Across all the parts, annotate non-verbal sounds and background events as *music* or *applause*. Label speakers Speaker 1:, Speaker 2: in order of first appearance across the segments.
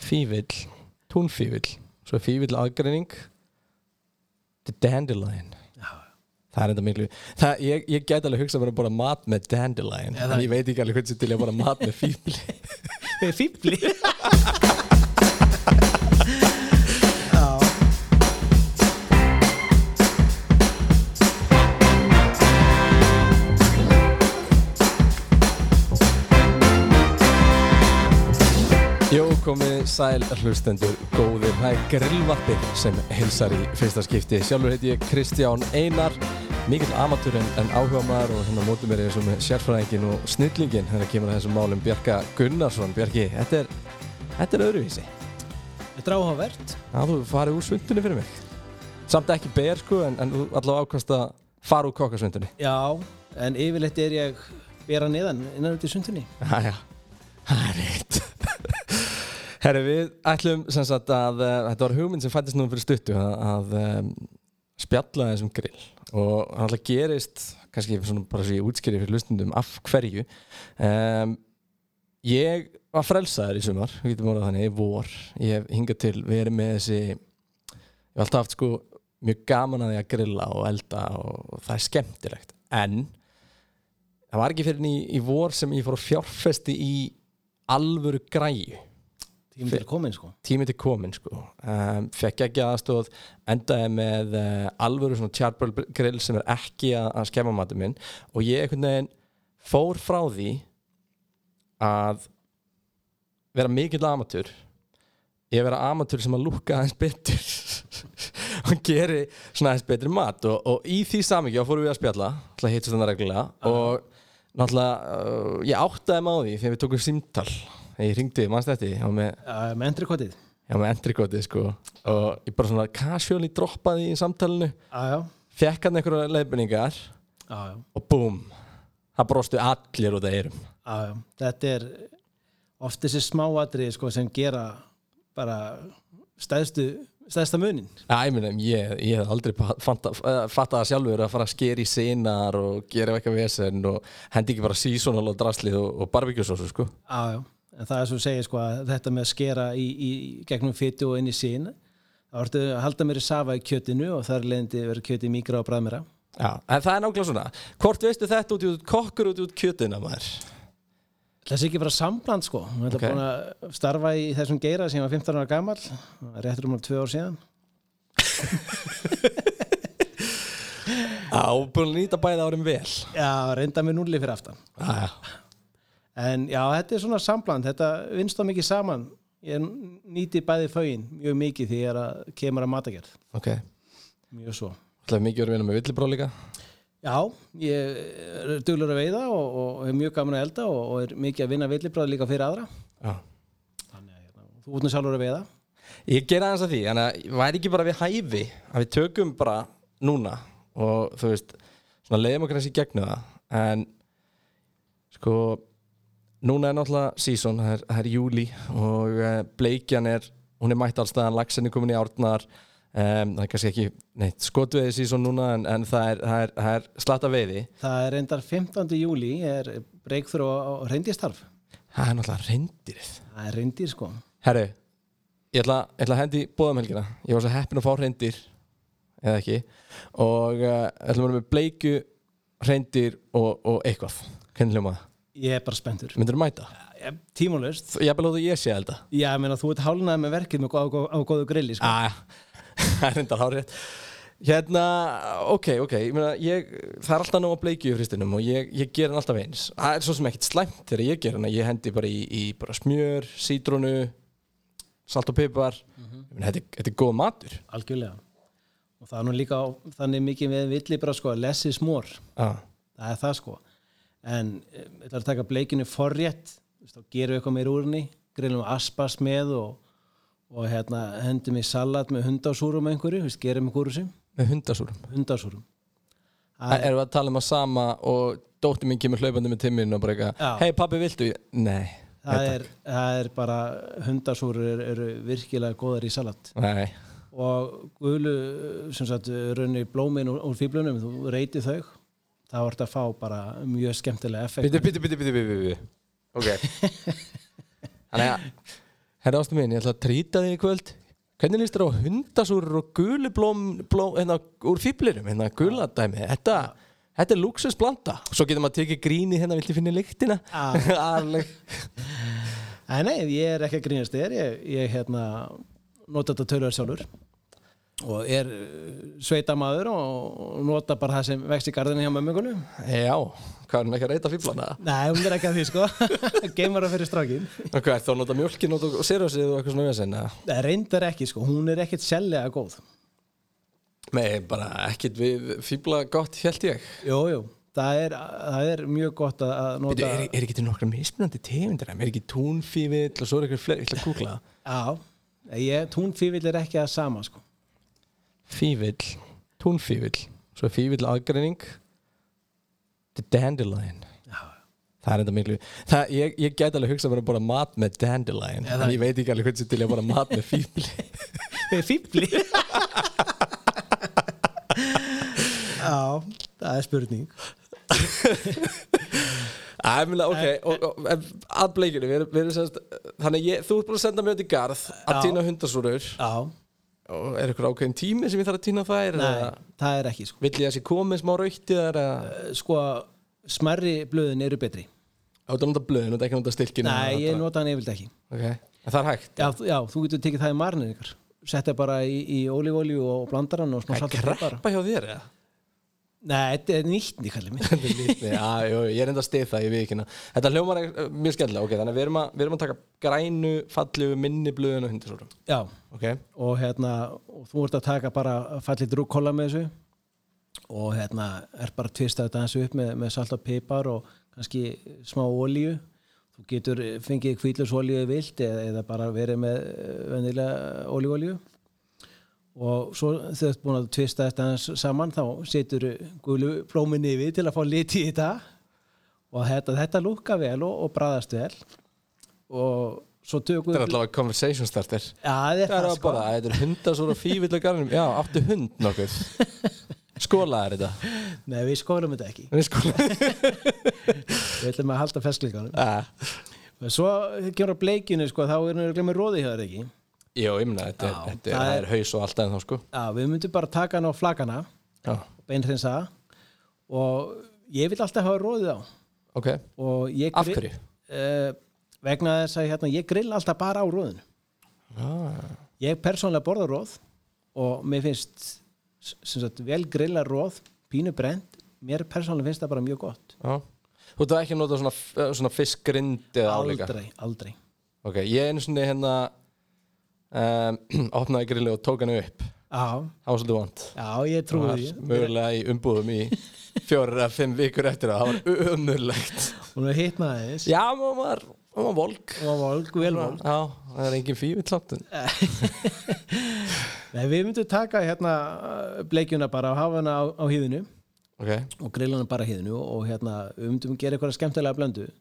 Speaker 1: fívill, túnfívill svo er fívill aðgreining the dandelion það er enda miklu það, ég, ég get alveg hugsað mér að bora mat með dandelion
Speaker 2: Já, það-
Speaker 1: en ég veit ekki alveg hvernig sem til ég að bora mat með fívill *laughs*
Speaker 2: Við fýbli
Speaker 1: Jó, komið sæl hlustendur, góðir, það er grillvarpið sem hilsar í fyrsta skipti. Sjálfur heiti ég Kristján Einar, mikill amatúr en, en áhuga maður og hérna á móti mér er eins og með sérfræðingin og snillingin þegar kemur að þessum málum Bjarka Gunnarsson. Bjarki, þetta er, þetta er öðruvísi.
Speaker 2: Þetta er áhugavert
Speaker 1: Já, þú hefur farið úr svundunni fyrir mig. Samt ekki ber sko, en, en þú allavega ákvæmst að fara úr kokkasvundunni.
Speaker 2: Já, en yfirleitt er ég vera neðan innan út í sundinni
Speaker 1: Jæja, það er rétt *laughs* Herri, við ætlum sem sagt að, uh, þetta var hugmynd sem fættist núna fyrir stuttu að, að um, spjalla þessum grill og hann alltaf gerist, kannski svona bara svo ég útskýri fyrir lustundum af hverju um, Ég var frelsaður í sumar, við getum orðað þannig, í vor Ég hef hingað til verið með þessi ég hef alltaf haft sko mjög gaman að því að grilla og elda og, og það er skemmtilegt en það var ekki fyrir í, í vor sem ég fór að fjárfesti í alvöru græju
Speaker 2: Tímum til komin sko
Speaker 1: tími til komin sko um, fekk ekki aðstóð endaði með uh, alvöru svona tjárbröl grill sem er ekki að, að skemma matur minn og ég einhvern veginn fór frá því að vera mikill amatúr ég vera amatúr sem að lúkka aðeins betur *laughs* og geri svona aðeins betri mat og, og í því samíkja fórum við að spjalla alltaf hittist þannig reglulega og náttúrulega uh, ég áttaði mig á því þegar við tókum símtal ég ringdi, mannst þetta, ég var með
Speaker 2: Já, með endrikotið
Speaker 1: Já, með endrikotið sko og ég bara svona casually droppaði í samtalinu
Speaker 2: Já, já,
Speaker 1: fekk hann einhverja leiðbendingar
Speaker 2: já, já,
Speaker 1: og búm það brostu allir út af eyrum
Speaker 2: já, já. Þetta er oft þessi smáatriði sko sem gera bara stæðstu, stæðsta munin
Speaker 1: Já, ég meina, ég, ég hef aldrei eh, fattað fatta það sjálfur að fara að skeri í sinar og gera eitthvað vesen og hendi ekki bara seasonal og draslið og, og barbekjusósu sko
Speaker 2: Já, já, en það er svo að segja sko að þetta með að skera í, í gegnum fytu og inn í sín þá ertu að halda mér í safa í kjötinu og þar leðandi verið kjöti mikra og bræðmera
Speaker 1: Já, en það er nákvæmlega svona Hvort veistu þetta út í út kokkur út í út kjötina maður?
Speaker 2: Það sé ekki bara sambland sko Hún er
Speaker 1: Ok.
Speaker 2: okay. búin að starfa í þessum geira sem ég var 15 ára gamall réttur um hann tvö ár síðan
Speaker 1: Já, búin að nýta bæði árum vel
Speaker 2: Já, reynda með núli fyrir aftan
Speaker 1: Já,
Speaker 2: En já, þetta er svona sambland, þetta vinnst þá mikið saman Ég nýti bæði fögin mjög mikið því ég er að kemur að matagerð
Speaker 1: ok
Speaker 2: Mjög svo
Speaker 1: Það er mikið verið að vinna með villibróð líka
Speaker 2: Já, ég er duglur að veiða og, og er mjög gaman að elda og, og er mikið að vinna villibráð líka fyrir aðra
Speaker 1: Já
Speaker 2: Þannig að hérna, þú út nú sjálfur að veiða
Speaker 1: Ég ger aðeins að því, þannig að væri ekki bara við hæfi að við tökum bara núna og þú veist, svona leiðum okkur þessi gegnu það en sko, núna er náttúrulega season, það er, það er júli og eh, bleikjan er, hún er mætt allstaðan, laxin er komin í árnar um, það er kannski ekki, neitt, skotveði season núna en, en það er, það er, það er slatta veiði
Speaker 2: Það er reyndar 15. júli er breykþur og reyndistarf
Speaker 1: það er náttúrulega reyndirð
Speaker 2: Það er reyndir sko
Speaker 1: Herru, ég ætla, ég ætla að hendi bóðum helgina Ég var svo heppin að fá hreindir Eða ekki Og uh, ætlum að vera með bleiku, hreindir og, og eitthvað Hvernig hljóma það?
Speaker 2: Ég er bara spenntur.
Speaker 1: Myndirðu mæta?
Speaker 2: Tímulust.
Speaker 1: Þú- Ég ætla að ég sé þetta
Speaker 2: Já, ég meina, þú ert hálnað með verkið með góð, á góðu grilli, sko.
Speaker 1: Æ, *laughs* það er reyndar hárið Hérna, ok, ok ég meina, ég, Það er alltaf nóg að bleikju í fristinum Og ég, ég ger hann alltaf eins Það er svo sem ekkert slæmt þegar ég ger hann Ég hendi bara í, í bara smjör, sítrúnu Salt og pipar mm þetta, er- þetta er góð matur
Speaker 2: Algjörlega. Og það er nú líka á, þannig mikið með villi bara, sko, less is more.
Speaker 1: ah.
Speaker 2: Það er það, sko. En eh, ég ætlar að taka bleikinu forrétt, þú veist, þá gerum við eitthvað meir úr henni, grillum aspas með og, og hérna, hendum í salat með hundasúrum einhverju, þú veist, gerum við kúrusi,
Speaker 1: Með hundasúrum
Speaker 2: hundasúrum.
Speaker 1: Það erum við að tala um að sama og dóttir mín kemur hlaupandi með timmin og bara
Speaker 2: Já.
Speaker 1: eitthvað Hei pappi, viltu? ég?" Nei,
Speaker 2: Það er, það er bara, hundasúrur eru, eru virkilega góðar í salat.
Speaker 1: nei
Speaker 2: og guðlu sem sagt raunir blómin úr, úr fíblunum þú reyti þau þá er þetta að fá bara mjög skemmtilega
Speaker 1: *laughs*
Speaker 2: effekt
Speaker 1: Bitti, bitti, bitti, bitti, bitti, bitti Ok Þannig að Herra ástu mín, ég ætla að trýta þig í kvöld Hvernig líst þér á hundasúrur og guliblóm blóm, hérna, úr fýblirum, hérna guladæmi Þetta, þetta er luxusblanda Svo getur maður tekið gríni hérna, viltu finna lyktina
Speaker 2: Já.
Speaker 1: *laughs* Alveg
Speaker 2: Nei, nei, ég er ekki að grínast þér, ég, ég hérna, nota þetta töluðar sjálfur og er sveita maður og nota bara það sem vext í garðinu hjá mömmungunum.
Speaker 1: Já, hvað er hún ekki að reyta fýblana?
Speaker 2: Nei, hún er ekki að því sko, *laughs* geimara fyrir strákin.
Speaker 1: Og hvað er þá að nota mjölkin og sérjósið og eitthvað svona við sinna?
Speaker 2: Nei, reyndar ekki sko, hún er ekkit sellega góð.
Speaker 1: Nei, bara ekkit við fýbla gott, held ég
Speaker 2: Jú, jú, það er, það er mjög gott að- að
Speaker 1: Bíddu,
Speaker 2: nota...
Speaker 1: er, er ekki til nokkra mismunandi tegundir? Er ekki túnfífill og svo er eitthvað fleiri, ég ætla að kúkla það.
Speaker 2: Já, ég, túnfífill er ekki að sama sko.
Speaker 1: Fífill, túnfífill, svo er fífill aðgreining, the dandelion.
Speaker 2: Já,
Speaker 1: Það er enda miklu, það, ég, ég gæti alveg hugsað mér að bara bora mat með dandelion,
Speaker 2: Já, það-
Speaker 1: en ég veit ekki alveg hvernig til ég að bora mat með
Speaker 2: *laughs*
Speaker 1: fífli.
Speaker 2: fífli. *laughs* Já, það er spurning.
Speaker 1: Æ, mjöla, ok, og, og, en að bleikinu, við erum, við erum semst, þannig að ég, þú ert búin að senda mér út í garð að
Speaker 2: Já.
Speaker 1: týna hundasúrur
Speaker 2: Já,
Speaker 1: og er eitthvað ákveðin tími sem ég þarf að týna þær
Speaker 2: Nei,
Speaker 1: eða
Speaker 2: það er ekki sko.
Speaker 1: vill ég að sé komið smá rauktið þar að,
Speaker 2: Eh, sko smerri blöðin eru betri
Speaker 1: áttu að nota blöðin og ekki að nota stilkinu
Speaker 2: Nei, ég nota hann yfirlega ekki
Speaker 1: Ok, en það er hægt
Speaker 2: já, þú- já, þú getur tekið það í marnin ykkar Setta bara í, í ólífólíu og blandar hann og smá
Speaker 1: Það er
Speaker 2: salt og pipar
Speaker 1: kreppa hjá þér eða? *laughs*
Speaker 2: Nei, þetta er nýttni kallið mig
Speaker 1: Þetta er lítið, já, jú, jú, ég er enda að stið það, ég við ekki hérna Þetta hljómar er, uh, mjög skemmtilega, ok, þannig að við erum að, við erum að taka grænu, fallegu, minni blöðun og hundasúrum
Speaker 2: Já,
Speaker 1: Ok,
Speaker 2: og hérna og þú ert að taka bara fallið drúkkola með þessu og hérna er bara að tvista þetta þessu upp með, með salt og pipar og kannski smá ólíu þú getur eh, fengið kvítlusólíu vilt eða, eða bara verið með eh, venjulega ólífólíu og svo þegar þú ert búin að tvista þetta aðeins saman þá setur gulu blómin yfir til að fá liti í þetta og þetta, þetta lúka vel og, og bræðast vel og svo tökum
Speaker 1: þetta er allavega conversation starter
Speaker 2: Já,
Speaker 1: Það
Speaker 2: það er
Speaker 1: er
Speaker 2: það
Speaker 1: að
Speaker 2: sko
Speaker 1: bara, þetta er hundasúr og fífill á garðinum Já, áttu hund
Speaker 2: *laughs*
Speaker 1: nokkuð Skólaðar þetta
Speaker 2: Nei, við skólum þetta ekki
Speaker 1: Við skólaðar
Speaker 2: Við ætlum að halda feskleikanum
Speaker 1: ah.
Speaker 2: Svo kemur að bleikinu, sko, þá erum við glemur róði hjá þér ekki
Speaker 1: Jó, ég meina, þetta,
Speaker 2: Já,
Speaker 1: er- þetta er,
Speaker 2: það
Speaker 1: það
Speaker 2: er-
Speaker 1: er haus og alltaf en þá sko
Speaker 2: Já, við myndum bara taka hann á flakana
Speaker 1: Já,
Speaker 2: beinhreinsa það. og ég vil alltaf hafa róðið á
Speaker 1: ok,
Speaker 2: og ég
Speaker 1: af hverju?
Speaker 2: Eh, vegna þess að hérna, ég grill alltaf bara á róðinu
Speaker 1: Ah.
Speaker 2: Ég persónlega borða róð og mér finnst s- sem sagt, vel grilla róð, pínu brent mér persónlega finnst það bara mjög gott
Speaker 1: Já. Þú ert ekki að nota svona, eh, svona fiskgrind eða áleika?
Speaker 2: Aldrei, aldrei
Speaker 1: Ok, ég einu svona hérna um, *clears throat* opnaði grillu og tók hann upp
Speaker 2: Já,
Speaker 1: það var svolítið vant
Speaker 2: já ég
Speaker 1: Það
Speaker 2: trúi
Speaker 1: var
Speaker 2: því
Speaker 1: mögulega í umbúðum í
Speaker 2: *laughs*
Speaker 1: fjórar að fimm vikur eftir það það var umurlegt
Speaker 2: Hún er hitnaði þess
Speaker 1: Já, maður var, maður var volk
Speaker 2: og volk, vel volk
Speaker 1: Já, það er engin fífill samt en-
Speaker 2: Nei, við myndum taka hérna uh, bleikjuna bara og hafa hana á, á hýðinu
Speaker 1: Ok,
Speaker 2: og grilla hana bara á hýðinu og hérna við myndum gera eitthvað skemmtilega blöndu við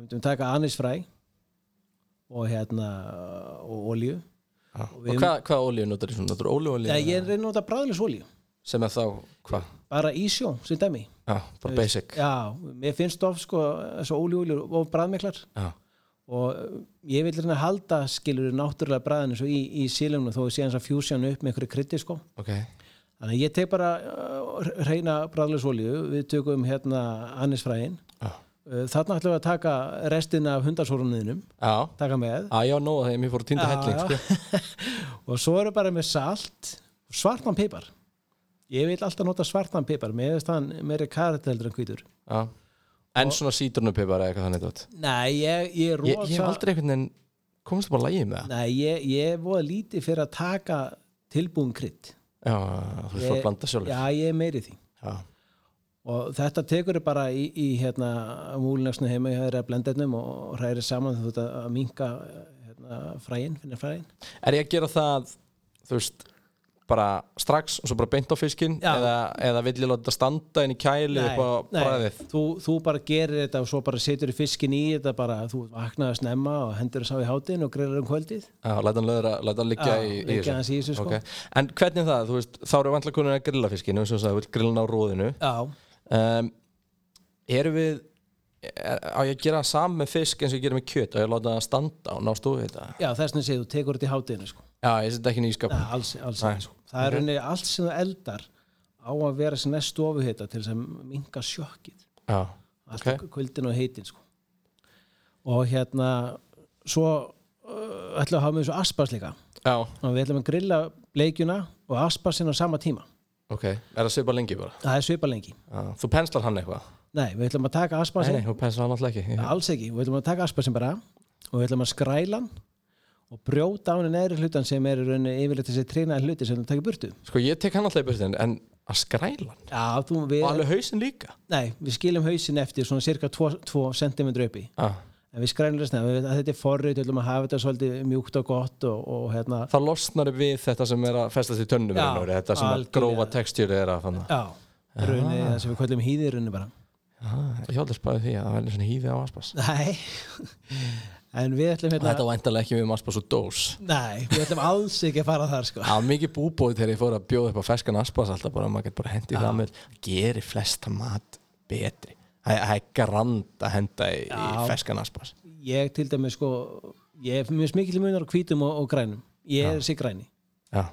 Speaker 2: myndum taka anisfræ og hérna og olíu
Speaker 1: Já.
Speaker 2: Og
Speaker 1: og
Speaker 2: við-
Speaker 1: hvað, hvað olíu notar þú? Notar
Speaker 2: Nei,
Speaker 1: olíuolíu
Speaker 2: ég er reyna að nota bræðlis olíu
Speaker 1: sem er þá, hvað?
Speaker 2: bara í sjó, sem dæmi
Speaker 1: Já, bara basic
Speaker 2: Já, mér finnst of sko þessu ólíu og bræðmiklar
Speaker 1: Já,
Speaker 2: og uh, ég vil reyna að halda skilur náttúrulega bræðinu svo í, í sílumnu þó ég sé hans að fjúsjanu upp með einhverju krytti sko
Speaker 1: ok
Speaker 2: Þannig að ég tek bara uh, reyna bræðlusolíu, við tökum hérna annisfræðin.
Speaker 1: Já,
Speaker 2: Uh, þarna ætlum við að taka restina af hundarsórunniðinum,
Speaker 1: já,
Speaker 2: taka með.
Speaker 1: já, já nóg þegar mér fór að týnda helling sko.
Speaker 2: og svo erum við bara með salt og svartan pipar. Ég vil alltaf nota svartan pipar, mér finnst hann meiri karatældur en hvítur.
Speaker 1: Já. En svona sítrunupipar eða eitthvað þannig dót
Speaker 2: Nei, ég, ég er
Speaker 1: Ég,
Speaker 2: rosa...
Speaker 1: ég hef aldrei einhvern veginn komist upp á lægið með það
Speaker 2: Nei, ég, ég er voða lítið fyrir að taka tilbúin krydd.
Speaker 1: Já, þú veist það að
Speaker 2: Ég-
Speaker 1: blanda sjálfur
Speaker 2: Já, ég er meiri því.
Speaker 1: Já.
Speaker 2: og þetta tekur þið bara í, í hérna múlinagsnu heima í hæðra blendetnum og hræri saman þú þetta að minka hérna, fræin, finna fræin
Speaker 1: Er ég að gera það þú veist, bara strax og svo bara beint á fiskin
Speaker 2: Já.
Speaker 1: eða, eða vill ég láta þetta standa inn í kæli upp á bræðið
Speaker 2: þú, þú bara gerir þetta og svo bara setur fiskin í þetta bara, þú vaknaði snemma og hendur þess á í hátinn og greilar um kvöldið
Speaker 1: Já, læta hann löðra, læta hann liggja
Speaker 2: Já,
Speaker 1: í, í
Speaker 2: liggja aðeins í þessu, sko.
Speaker 1: Ok. En hvernig er það, þú veist, þá eru vantlega konur að grilla fiskinu eins og það, þú vill grilla hann á róðinu
Speaker 2: Já,
Speaker 1: um, Erum við er, á ég að gera það saman með fisk eins og ég gera með kjöt og ég láta það standa og ná stóðu þetta
Speaker 2: Já, þess vegna segir þú tekur þetta í hátíðinu sko.
Speaker 1: já, ég setja ekki nýskap
Speaker 2: Nei, alls, alls
Speaker 1: Nei.
Speaker 2: ekki sko. Það er rauninni allt sem þú eldar á að vera sem næst stofuhita til sem minga sjokkið.
Speaker 1: já,
Speaker 2: Allt
Speaker 1: Ok.
Speaker 2: okay. kvöldin og heitin sko. Og hérna svo uh, ætlum við að hafa með þessu aspas líka.
Speaker 1: já,
Speaker 2: Og við ætlum að grilla bleikjuna og aspasin á sama tíma.
Speaker 1: ok er það svipa lengi bara
Speaker 2: Það er svipa lengi.
Speaker 1: já. þú penslar hann eitthvað
Speaker 2: Nei, við ætlum að taka
Speaker 1: nei,
Speaker 2: aspasin
Speaker 1: nei, þú penslar hann alltaf ekki já,
Speaker 2: Alls ekki, við ætlum að taka aspasin bara og við ætlum að skræla hann og brjóta á hann neðri hlutan sem er í rauninni yfirleitt þessi trínaði hluti sem þú tekir burtu.
Speaker 1: sko ég tek hann alltaf í burtin en að skræla hann
Speaker 2: Já, þú, við,
Speaker 1: og alveg hausin líka
Speaker 2: nei, við skiljum hausin eftir svona cirka 2 cm uppi.
Speaker 1: já.
Speaker 2: En við skrælum restina, við, að þetta er forrið, við ætlum að hafa þetta svolítið mjúkt og gott og, og hérna,
Speaker 1: það losnar upp við þetta sem er að festast í tönnum
Speaker 2: Já,
Speaker 1: já, raunur, þetta sem að
Speaker 2: algjörlega.
Speaker 1: grófa textjúri er að fanna
Speaker 2: já, rauninni,
Speaker 1: Ah.
Speaker 2: það sem við kvöldum hýði rauninni bara.
Speaker 1: ég hálfði spæði því að það væri svona hýði á aspas
Speaker 2: Nei, *laughs* en við ætlum hérna,
Speaker 1: þetta væntalega ekki við um aspas og dós
Speaker 2: nei, við ætlum alls ekki að fara þar sko.
Speaker 1: Það var mikið búbóð þegar ég fór að bjóða upp á ferskan aspas alltaf bara, maður getur bara hendið það með gerir flesta mat betri Það það er grand að henda í, í
Speaker 2: Já.
Speaker 1: ferskan aspas
Speaker 2: Ég til dæmi sko, ég er mjög mikill munar á hvítum og, og grænum. Ég er sér græni.
Speaker 1: Já,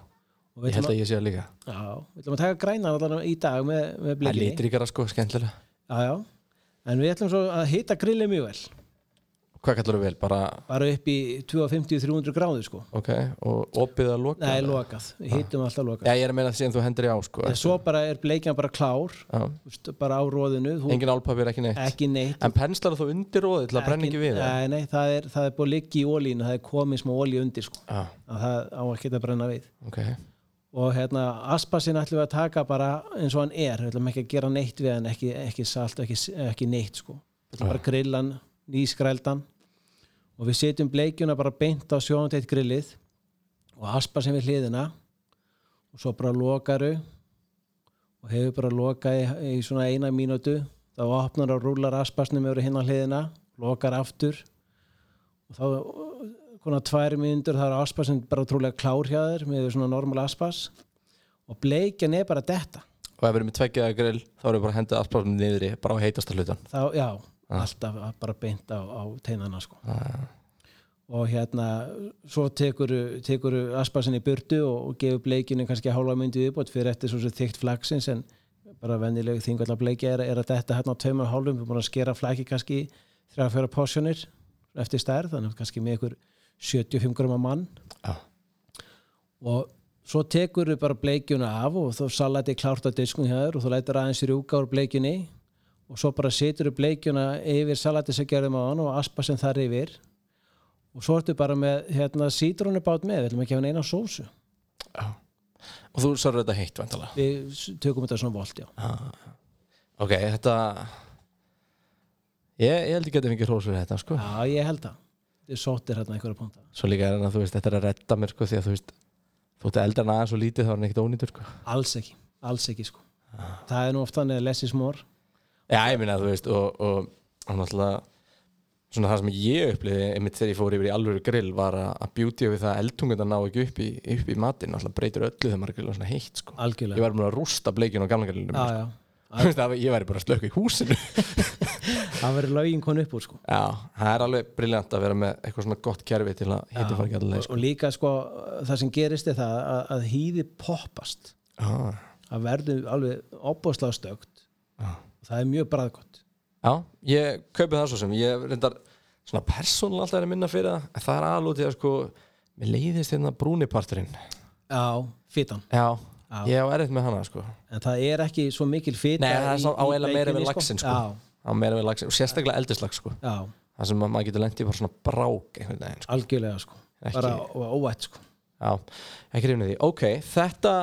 Speaker 2: Og við
Speaker 1: ég
Speaker 2: ætlum,
Speaker 1: held að ég sé það líka
Speaker 2: að, já, við ætlum að taka græna allan í dag með, með
Speaker 1: Það er
Speaker 2: blikinni.
Speaker 1: litríkara sko, skemmtilega
Speaker 2: Já, já. En við ætlum svo að hita grillið mjög vel.
Speaker 1: Hvað kallar þú vel, bara,
Speaker 2: Bara upp í 250-300 gráður sko.
Speaker 1: ok, og opið að loka
Speaker 2: Nei, lokað. Hitum alltaf lokað.
Speaker 1: Já, ég er að meina sem þú hendur í á sko
Speaker 2: En svo bara er bleikjan bara klár,
Speaker 1: Já.
Speaker 2: þú veist, bara á róðinu, þú
Speaker 1: Engin álpapir, ekki neitt
Speaker 2: ekki neitt.
Speaker 1: En penslar þú undir róði til að brenna ekki við það?
Speaker 2: Nei, nei, það er, það er búið að liggja í ólínu, það er komið smá ólí undir sko.
Speaker 1: Já,
Speaker 2: Að það á ekki að brenna við.
Speaker 1: ok
Speaker 2: og hérna aspasin ætlum við að taka bara eins og hann er, við ætlum ekki að gera neitt við hann ekki, ekki salt, ekki, ekki neitt sko. við ætlum bara að grilla hann, nýskrældan og við setjum bleikjuna bara beint á sjóðanteitt grillið og aspasin við hliðina og svo bara lokaru og hefur bara lokað í, í svona eina mínútu þá opnar og rúlar aspasnum yfir hinn á hliðina, lokar aftur og þá konar tvær mínútur það er aspas sem bara trúlega klár hjá þér með svona normal aspas og bleikjan er bara detta
Speaker 1: Og ef við erum með tveggjaða grill, þá erum við bara að henda aspasunum niðri, bara á heitasta hlutan
Speaker 2: þá, já, alltaf bara beint á, á teinana sko
Speaker 1: Já,
Speaker 2: og hérna, svo tekur, tekur aspasin í burtu og, og gefur bleikinu kannski hálfa myndu viðbót fyrir eftir svo þygt flaksins en bara vennileg þingvall að bleikja er, er að detta hérna á tveimur hálfum, við erum búin að skera flaki kannski þrjá að fjóra porsjónir eftir stærð, þannig kannski með ykkur 75 grama mann
Speaker 1: já,
Speaker 2: og svo tekur þau bara bleikjuna af og þá salati er klárt á diskun hjá þér og þú lætur aðeins rjúka úr bleikjunni og svo bara setur þau bleikjuna yfir salati sem gerðum á hann og aspa sem þar yfir og svo ertu bara með hérna, sítrónubát með, við ætlum ekki að hafa eina sósu
Speaker 1: já Og þú sarur þetta heitt, vandalega
Speaker 2: við s- tökum þetta svona volt, já
Speaker 1: Ah, Ok, þetta Ég, ég held ekki að þetta fengið hrósur þetta, sko
Speaker 2: Já, ég held það, þetta er sóttir hérna einhverja punta
Speaker 1: Svo líka er hann að þú veist, þetta er að redda mér, sko Því að þú veist, þú ert eldar aðeins og lítið þá er hann ekkert ónýtur, sko
Speaker 2: alls ekki, alls ekki sko það er nú oft þannig að lessis mór
Speaker 1: Já, ég minna, þú veist, og, og hann alltaf Svona það sem ég upplýði einmitt þegar ég fór yfir í alvöru grill var að að beauty við það að eldtungan ná ekki upp í, upp í matinn alltaf breytir öllu þegar maður grilla svona heitt sko. Ég
Speaker 2: algjörlega,
Speaker 1: væri múin að rústa bleikinu á gamla grillinu
Speaker 2: já, já,
Speaker 1: Þú veist, *laughs* það- Ég væri bara að slökka í húsinu
Speaker 2: það verður lögin konu upp úr sko
Speaker 1: Já, það er alveg briljant að vera með eitthvað svona gott kerfi til að hitti fara ekki allir
Speaker 2: og, og líka sko það sem gerist er það að, að hýði poppast
Speaker 1: Já,
Speaker 2: það verður alveg opbóðslega stögt
Speaker 1: Já.
Speaker 2: það er mjög bræðgott
Speaker 1: Já, ég kaupi það svo sem ég reyndar svona persónulega alltaf er að minna fyrir það en það er aðlútið að sko mér leiðist hérna brúniparturinn
Speaker 2: já, fitan
Speaker 1: Já,
Speaker 2: Já.
Speaker 1: ég á erfitt með hana sko
Speaker 2: en það er ekki svo mikil fita
Speaker 1: Nei, það er
Speaker 2: í-
Speaker 1: sá- á
Speaker 2: í
Speaker 1: eiginlega meira
Speaker 2: bleikunni,
Speaker 1: við laxinn, sko. á meira við lagsin og sérstaklega eldislag sko
Speaker 2: já, já,
Speaker 1: það sem að maður getur lent í bara svona brák einhvern veginn sko.
Speaker 2: algjörlega sko
Speaker 1: Ekki-
Speaker 2: bara ó- óvætt sko
Speaker 1: Já, ekki reyna því Ok, þetta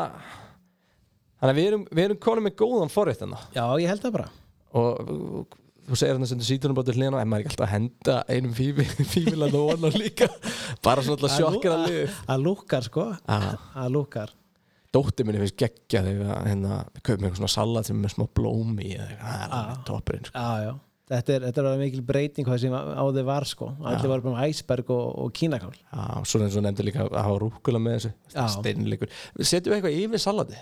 Speaker 1: Þannig að við erum, við erum konum með góðan forrétt hérna. þarna
Speaker 2: já, ég held það bara
Speaker 1: og og þú segir hann að senda sítunum bara til hliðina en maður er ekki alltaf að henda einum fífi- *laughs* fífilan og onan líka bara svona alltaf sjokkar að lið Ah,
Speaker 2: að lúkkar sko að lúkkar
Speaker 1: Dóttir minni finnst geggja þegar hérna, við kaupum eitthvað svona salat sem er með smá blóm í eða eitthvað, það er alveg toppurinn sko.
Speaker 2: já, já Þetta er, þetta er alveg mikil breyting hvað sem á þið var sko. Allir var bara með æsberg og, og kínakál.
Speaker 1: Já, Ah, og svona eins og nefndi líka að hafa rúkula með þessu
Speaker 2: Já.
Speaker 1: steinleikur Setjum við eitthvað yfir salati?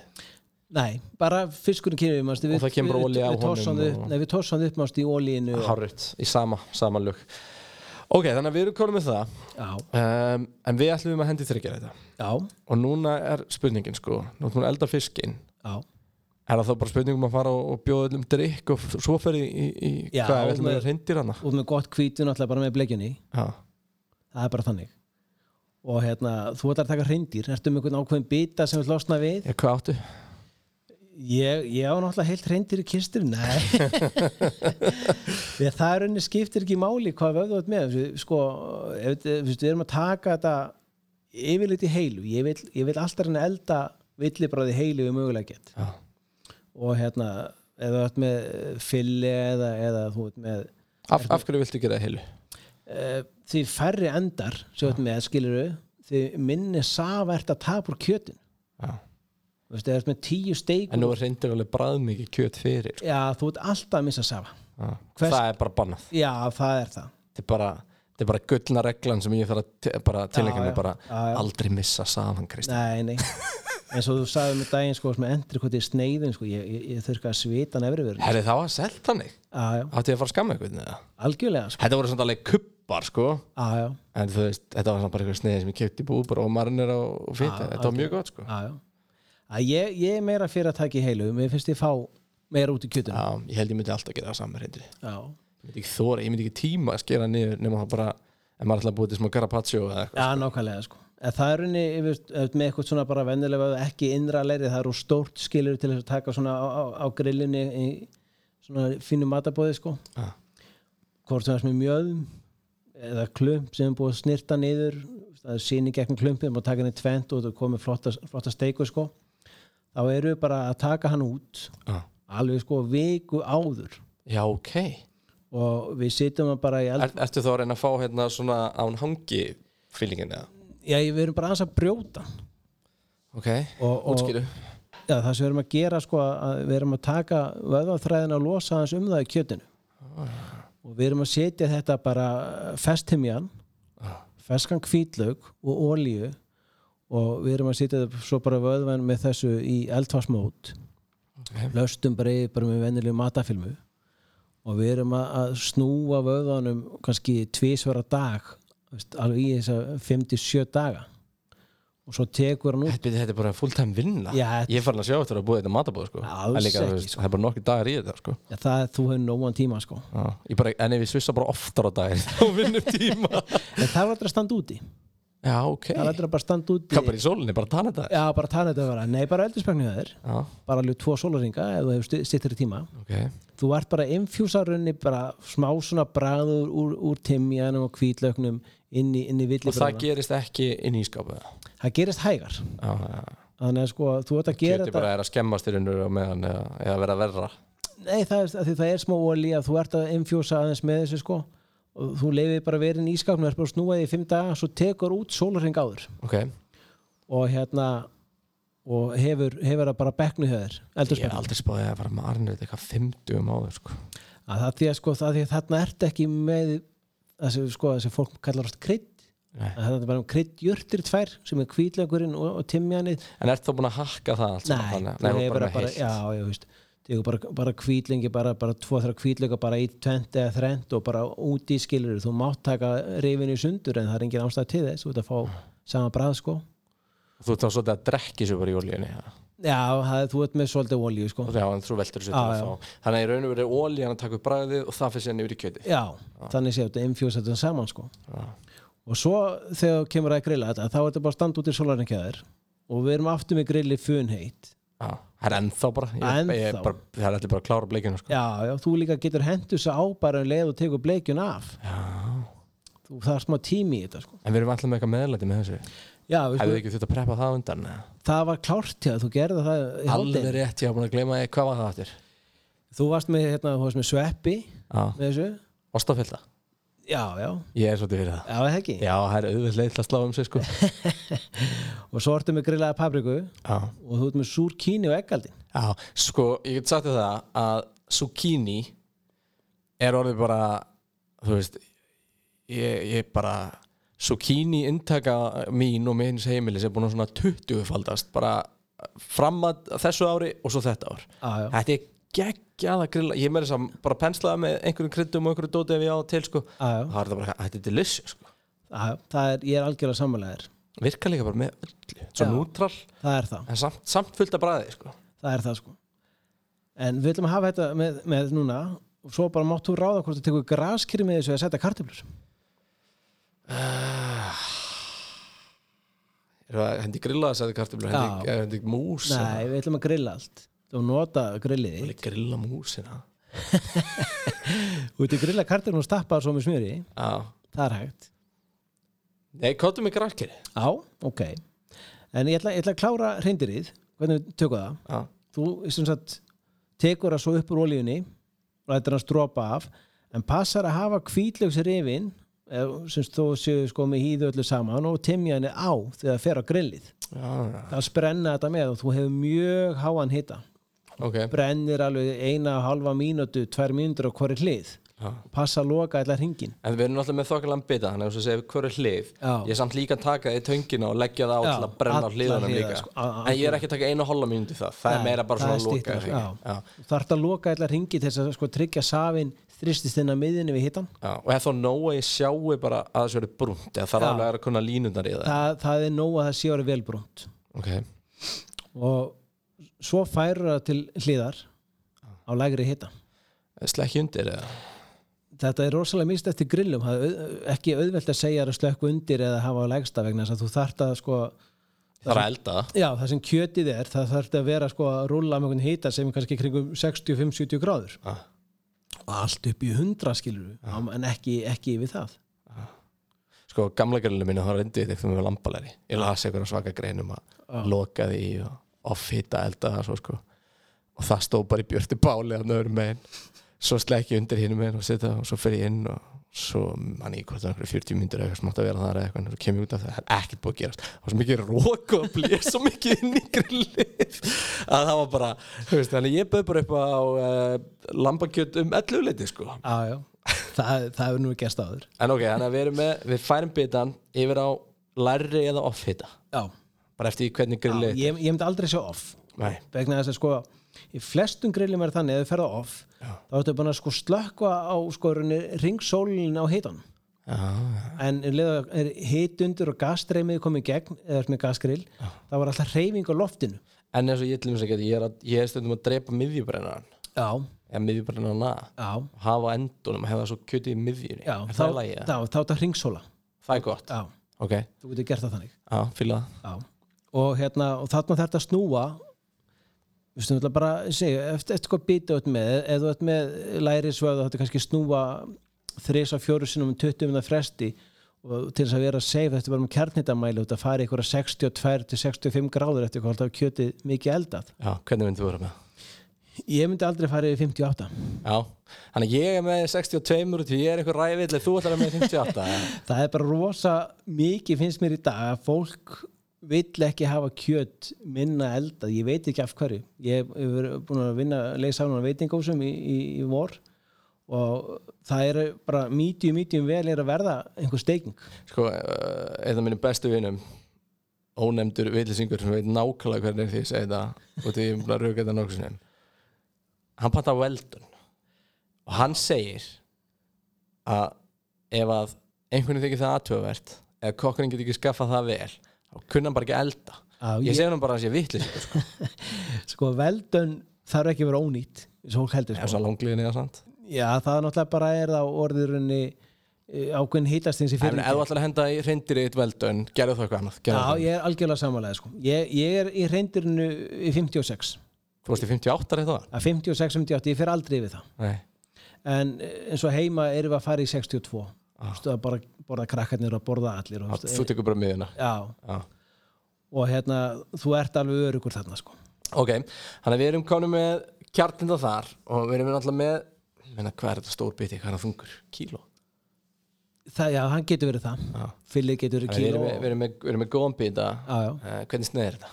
Speaker 2: Nei, bara fiskurinn kynir við manstu,
Speaker 1: Og það kemur olía á
Speaker 2: við, við tossum
Speaker 1: honum
Speaker 2: hann
Speaker 1: og-
Speaker 2: upp, Nei, við tossum hann upp manstu í olíinu og,
Speaker 1: Hárrið, í sama, sama lög Ok, þannig að við erum konum með það
Speaker 2: Já,
Speaker 1: um, En við ætlum að hendi þryggja þetta
Speaker 2: já,
Speaker 1: Og núna er spurningin sko Nú erum við elda fiskinn
Speaker 2: já
Speaker 1: Er það þá bara spurning um að fara og, og bjóða öllum drikk og f- svo fer í, í, í
Speaker 2: Já,
Speaker 1: hvað er ætlum
Speaker 2: með-
Speaker 1: við að reyndir hana?
Speaker 2: Og með gott hvítu náttúrulega bara með bleikjunni
Speaker 1: Já,
Speaker 2: Það er bara þannig Og hérna, þú ætlar að taka hreindýr Ertu með einhvern ákveðin bita sem við losna við
Speaker 1: ég, hvað áttu?
Speaker 2: Ég, ég á náttúrulega heilt hreindýr í kistur Nei Við það er henni skiptir ekki máli hvað við öðvöld með Við- Sko, ef, þetta- þú veist, við erum að taka þetta yfirleitt í heilu Ég vil, ég vil alltaf henni elda villibráði heilu við mögulega get
Speaker 1: Já,
Speaker 2: og hérna ef þú ert með fylli eða, eða þú ert með
Speaker 1: af, af hverju viltu gera það heilu?
Speaker 2: uh, því færri endar sem þú ert með skilur því minni safa ert að tapa úr kjötin
Speaker 1: Já.
Speaker 2: þú veist, ef þú ert með tíu
Speaker 1: En
Speaker 2: steikur
Speaker 1: nú er reyndir alveg bræð mikið kjöt fyrir sko.
Speaker 2: já, þú ert alltaf að missa safa
Speaker 1: Já.
Speaker 2: Hvers-
Speaker 1: Það er bara bannað
Speaker 2: já, það er það
Speaker 1: Þetta er bara, þetta er bara gullna reglan sem ég þarf að te- bara tilengja
Speaker 2: Já,
Speaker 1: mig
Speaker 2: já.
Speaker 1: bara
Speaker 2: Já, já.
Speaker 1: aldrei missa saman Kristi
Speaker 2: nei,
Speaker 1: *laughs*
Speaker 2: nei eins og þú sagði með daginn sko sem endri hvort ég sneiðin sko, ég, ég, ég þurka að svita nefri verið
Speaker 1: Herri það var selt þannig
Speaker 2: já, já,
Speaker 1: Átti ég að fara að skamma eitthvað neða
Speaker 2: algjörlega sko
Speaker 1: Þetta voru samt alveg kubbar sko
Speaker 2: já, já,
Speaker 1: En þú veist, þetta var samt bara eitthvað sniði sem ég kefti búið bara og marinir og fita
Speaker 2: Já,
Speaker 1: Þetta var mjög gott sko
Speaker 2: já, já Að ég, ég er meira fyrir að taka í heilu mér finnst ég fá meira út í kjötinu
Speaker 1: Já, ég held ég myndi alltaf gera það saman reyndir Ég
Speaker 2: já.
Speaker 1: myndi ekki þóra, ég myndi ekki tíma að skera niður nema það bara, en maður ætla að búið til smá garapaccio eða eitthvað
Speaker 2: Já, nákvæmlega sko. En það er unni með eitthvað svona bara vennilega ekki innra leiri, það eru stórt skilur til þess að taka svona á, á, á grillinni í svona fínu matabóði sko.
Speaker 1: Já.
Speaker 2: Hvort sem það er með mjöðum eða klump sem er búið að snirta niður það er síni gegn klumpið, maður taka hann í tvent og það komið flotta, flotta steiku sko. Þá eru við bara að taka hann út
Speaker 1: Já,
Speaker 2: alveg sko viku áður
Speaker 1: já ok er,
Speaker 2: og við sitjum hann bara í eld...
Speaker 1: Ertu þá að reyna að fá hérna svona án hangi fílingin eða?
Speaker 2: Já, við erum bara aðeins að brjóta hann.
Speaker 1: Ok,
Speaker 2: og, og,
Speaker 1: útskýru
Speaker 2: Já, það sem við erum að gera sko að við erum að taka vöðvaþræðina og losa hans um það í kjötinu og við erum að setja þetta bara festhimjan feskan hvítlaug og olíu og við erum að setja þetta svo bara vöðvan með þessu í eldfarsmót
Speaker 1: Ok.
Speaker 2: löstum breið bara með venjulegu matafilmu og við erum að- að snúa vöðvanum kannski tvísvara dag þú veist, alveg í þess að 57 daga og svo tekur hann út
Speaker 1: Þetta þetta er bara fulltime vinna
Speaker 2: Já,
Speaker 1: Ég er farin að sjá eftir að búið þetta matabóð sko.
Speaker 2: Alls
Speaker 1: En þú
Speaker 2: ekki,
Speaker 1: veist, Það er bara nokkur dagar í þetta sko.
Speaker 2: Já, það er, þú hefur nógan tíma sko.
Speaker 1: Já. Ég bara, En ef ég svissa bara oftar á dagir *laughs* þá vinnum tíma
Speaker 2: En það er aldrei að standa úti.
Speaker 1: Já, ok
Speaker 2: Það er aldrei að bara standa úti.
Speaker 1: Hvað bara í sólinni, bara tana þetta
Speaker 2: Já, bara tala þetta að vera. Nei, bara eldurspengnið þér.
Speaker 1: Já,
Speaker 2: Bara alveg tvo sólaringa ef þú hefur stittir tíma.
Speaker 1: ok
Speaker 2: Þú ert bara infjúsarunni, bara smá svona bragður úr, úr timjanum og kvítlöknum inn í, inn í
Speaker 1: Og það
Speaker 2: villibröðuna.
Speaker 1: gerist ekki inn í skápu Já,
Speaker 2: Það, gerist hægar.
Speaker 1: já
Speaker 2: Þannig að sko, þú ert að gera
Speaker 1: Kjöti
Speaker 2: þetta.
Speaker 1: bara er að skemmast í raunur og meðan eða, eða vera verra
Speaker 2: Nei, það er, af því það er smá olí að þú ert að infjúsa aðeins með þessu sko. Og þú leifir bara verin í skapnum, þú ert bara að snúa því í fimm daga, svo tekur út sólaring áður.
Speaker 1: Ok,
Speaker 2: og hérna og hefur, hefur það bara bekknu hjá þér
Speaker 1: ég hef
Speaker 2: eldursbekknu
Speaker 1: aldrei spáðið að fara með arnir eitthvað 50 um áður sko.
Speaker 2: að það því að sko það því að þarna ert ekki með þessi sko þessi fólk kallar oft krydd
Speaker 1: Nei.
Speaker 2: að það er bara um kryddjurtir tvær sem er kvítlökurinn og, og timjanið
Speaker 1: En ert þá búin að hakka það allt saman
Speaker 2: nei,
Speaker 1: þannig?
Speaker 2: þú
Speaker 1: þú ert
Speaker 2: hefur bara,
Speaker 1: með
Speaker 2: bara
Speaker 1: heilt.
Speaker 2: já, já, veist Tegur bara, bara kvítlingi, bara, bara tvo þrjá kvítlöka bara í tvent eða þrent og bara út í skilur þú mátt taka reyfinu sundur en það er engin ástæð til þess þú ert að fá sama brað sko
Speaker 1: Þú ert þá svolítið að drekki sér bara í olíunni ja.
Speaker 2: já, það, er- þú ert með svolítið olíu sko
Speaker 1: Já, en þú veltur þessu
Speaker 2: Já,
Speaker 1: til að fá Þannig að í raun og verið ólíðan að taka upp bræðið og það fyrir sér yfir í kjöti
Speaker 2: Já, þannig séu þetta infjúsa þetta saman sko.
Speaker 1: Já.
Speaker 2: Og svo þegar þú kemur að grilla þetta, þá er þetta bara að standa út í sólarnakjæður og við erum aftur með grilli funheit.
Speaker 1: Já, það er ennþá bara, ég, ég, er
Speaker 2: Ennþá.
Speaker 1: bara Það er allir bara að klára bleikinu sko.
Speaker 2: Já, já, þú líka getur hendur svo á bara um leið og tegur bleikjun af. Þú, það er smá tími í þetta sko.
Speaker 1: En við erum alltaf með eitthvað meðlæti með þessu
Speaker 2: Já, við,
Speaker 1: Hefðu
Speaker 2: sko,
Speaker 1: ekki þurft að preppa það á undan eða?
Speaker 2: það var klárt hjá þér, þú gerði það í
Speaker 1: Alveg
Speaker 2: hádeginu.
Speaker 1: rétt, ég hafa búin að gleyma því hvað var það aftur
Speaker 2: Þú varst með, hérna, þú varst með sveppi
Speaker 1: Já,
Speaker 2: með þessu.
Speaker 1: ostafylta
Speaker 2: Já, já,
Speaker 1: Ég er svolítið fyrir það
Speaker 2: já, það er ekki.
Speaker 1: Já, það er auðvitað leið til að slá um sig sko
Speaker 2: Og svo ertu með grillaða papriku
Speaker 1: Já,
Speaker 2: og þú ert með súr kíni og eggaldin.
Speaker 1: já sko, ég get sagt þér það að zucchini er orðið bara þú veist ég, ég bara zucchini inntaka mín og minns heimilis er búin að svona 20 faldast bara fram að þessu ári og svo þetta ár
Speaker 2: Já, já.
Speaker 1: þetta er geggjaða grilla ég meira þess að bara penslaði með einhverjum kryddum og einhverjum dóti ef ég á það til sko
Speaker 2: Já, já.
Speaker 1: það er þetta bara, þetta er delicious sko.
Speaker 2: Já, já. það er, ég er algjörlega sammálaðir
Speaker 1: virka líka bara með öllu svo
Speaker 2: Já.
Speaker 1: nútral,
Speaker 2: það er það,
Speaker 1: en samt, samt fullt af bræði sko.
Speaker 2: það er það sko en við viljum hafa þetta með, með núna og svo bara mátt þú ráða hvort þú tekur graskýri með þessu að setja kartöflur
Speaker 1: Eru það hendi grillaða sæði kartumlu hendi,
Speaker 2: Já.
Speaker 1: eh, hendi mús eða-
Speaker 2: nei, við ætlum að grilla allt og nota grillið
Speaker 1: Alveg grilla músina
Speaker 2: þú veitir grilla kartöflur og stappa það svo með smjöri
Speaker 1: Já.
Speaker 2: það er hægt
Speaker 1: Nei, kóttu mig grækir
Speaker 2: á, ok en ég ætla, ég ætla að klára reyndirið hvernig við tökum það
Speaker 1: Já,
Speaker 2: þú sem sagt tekur það svo upp úr olíunni og lætur hann strópa af en passar að hafa kvítlaugs rifin sem þó séu sko með hýðu öllu saman og timja henni á þegar það fer á grillið
Speaker 1: já, já.
Speaker 2: það sprenna þetta með og þú hefur mjög háan hita
Speaker 1: ok
Speaker 2: brennir alveg eina og halva mínútu tvær mínútur á hverju hlið
Speaker 1: já.
Speaker 2: passa að loka allar hringin
Speaker 1: En við erum alltaf með þokkalan bita Þannig að þú segir hverju hlið
Speaker 2: Já.
Speaker 1: Ég er samt líka að taka því töngina og leggja það á
Speaker 2: Já,
Speaker 1: til að brenna á
Speaker 2: alla
Speaker 1: hliðunum
Speaker 2: hliða,
Speaker 1: líka
Speaker 2: sko, a- a-
Speaker 1: En ég er ekki að taka einu hola mínúti það Það er
Speaker 2: Nei,
Speaker 1: meira bara
Speaker 2: það
Speaker 1: svona
Speaker 2: er
Speaker 1: að loka
Speaker 2: styttra,
Speaker 1: því.
Speaker 2: já.
Speaker 1: Já.
Speaker 2: þú þarft að loka allar hringi til þess að sko tryggja safin þristist inn að miðinni við hitan
Speaker 1: Já. Og ef þá nóg að ég sjái bara að þessu verið brúnt Eða það er
Speaker 2: Já.
Speaker 1: alveg að vera kunna línundar í það
Speaker 2: það, það er nóg að það sé árið velbrúnt
Speaker 1: Ok,
Speaker 2: og svo færur það til hliðar á lægri hita
Speaker 1: slekki undir eða
Speaker 2: þetta er rosalega mist eftir grillum það er au- ekki auðvelt að segja þér að slökku undir eða hafa á lægsta vegna þess að þú þarft að sko
Speaker 1: Það er að elda það.
Speaker 2: já, það sem kjötið er, það þarft að vera sko að rúlla með einhvern hita sem er kannski kringum 65-70 gráður
Speaker 1: Já.
Speaker 2: og allt upp í 100 skilur en ekki, ekki yfir það
Speaker 1: Sko, gamla grillinu mínu, það reyndi þetta með lambalæri Ég las eitthvað svaka greinum að loka því og offita elda það svo sko Og það stóð bara í björti báli að nöður megin Svo slekki undir hinn megin og setja og svo fer ég inn og svo mann ég hvort það er einhverju 40 myndir eða eitthvað sem átt að vera þar eða eitthvað en svo kem ég út af það, það er ekkert búið að gerast það var svo mikið rók og blés svo mikið inn í grillið að það var bara, þú veist, þannig ég bauð bara upp á uh, lambakjöt um 11 leiti sko
Speaker 2: já, já, það, það hefur nú gerst áður
Speaker 1: En ok, þannig að við, erum með, við færum bitan yfir á lærri eða offhita
Speaker 2: já,
Speaker 1: bara eftir því hvernig grillið
Speaker 2: ég, ég myndi aldrei sjá off
Speaker 1: Nei,
Speaker 2: vegna þess að sko í flestum grillum er þannig að þau ferða off þá ertu búin að sko slökkva á sko ringsólin á hitan
Speaker 1: já, já,
Speaker 2: en um leið og er hit undir og gasstreymið komið í gegn eða er með gasgrill þá var alltaf reyfing á loftinu
Speaker 1: en eins og ég til þess að geta ég er, að, ég er stundum að drepa miðjubrennaran
Speaker 2: já,
Speaker 1: eða miðjubrennarana
Speaker 2: já,
Speaker 1: og hafa á endunum, hefða svo kjötið í miðjunni
Speaker 2: já
Speaker 1: Er
Speaker 2: þá,
Speaker 1: það, er lagi,
Speaker 2: þá, þá er það ringsóla
Speaker 1: það er gott
Speaker 2: já,
Speaker 1: Ok,
Speaker 2: þú getur gert það þannig
Speaker 1: já, fíla það.
Speaker 2: já. og hérna, og þarna þarf þetta að snúa Þú veist, náttúrulega bara að segja, eftir, eftir hvað býta út með, ef þú ert með læri svöðu, þetta kannski snúa þrís á fjóru sinum um 20 minna fresti og til þess að vera safe, þetta er bara með kjarnitamæli út að fara í einhverja 62 til 65 gráður eftir hvað það kjötið mikið eldað.
Speaker 1: Já, hvernig myndið þú vera með?
Speaker 2: Ég myndi aldrei fara yfir 58.
Speaker 1: Já, þannig að ég er með 62 út því ég er einhver ræfiðlega, þú ætlar að vera með 58 eða?
Speaker 2: Það er bara rosa mikið finnst mér í dag að fólk vill ekki hafa kjöt minna eldað, ég veit ekki af hverju ég hef hef verið búin að vinna leysa á náttúrulega veitingósum í, í, í vor og það er bara mítjum, mítjum vel er að verða einhver steiking
Speaker 1: sko, eh, einn af mínum bestu vinum ónefndur villisingur sem veit nákvæmlega hvernig því ég segi það og því ég er búin að rauka þetta nokkuð sinni hann panta veldun og hann segir að ef að einhvern þykir það aðtöfavert eða kokkurinn getur ekki skaffað það vel þá kunna hann bara ekki elda
Speaker 2: Já,
Speaker 1: ég
Speaker 2: ég-
Speaker 1: segi hann bara að sé vittlisingur sko.
Speaker 2: sko veldun þarf ekki að vera ónýtt eins og fólk heldur
Speaker 1: eða
Speaker 2: sko.
Speaker 1: svo langliðin eða sant
Speaker 2: já, það er náttúrulega bara er það orðurunni eh, ákveðin hýtastins í
Speaker 1: ef þú
Speaker 2: fyrir
Speaker 1: ætlar að henda í reyndir eitt veldun gerðu það eitthvað annað gerðu
Speaker 2: Já,
Speaker 1: það.
Speaker 2: ég er algjörlega samanlega sko. ég, ég er í reyndirinu í 56
Speaker 1: þú varst í 58 rétt á það
Speaker 2: að 56, 58, ég fer aldrei yfir það
Speaker 1: nei,
Speaker 2: en eh, eins og heima erum við að fara í 62 ah. að bara borða krakkarnir og borða allir og,
Speaker 1: Ah, þú tekur bara miðuna
Speaker 2: já,
Speaker 1: já
Speaker 2: og hérna þú ert alveg örugur þarna sko.
Speaker 1: Ok, þannig að við erum konum með kjarninda þar og við erum náttúrulega með menna, hvað er þetta stór biti, hvað er það þungur? Kíló
Speaker 2: það, já, hann getur verið það
Speaker 1: Já.
Speaker 2: fyllið getur verið
Speaker 1: Þannig að Ah. Við erum
Speaker 2: kíló
Speaker 1: með, við erum með, við erum með góðan bita
Speaker 2: Já, já.
Speaker 1: uh, Hvernig snið er þetta?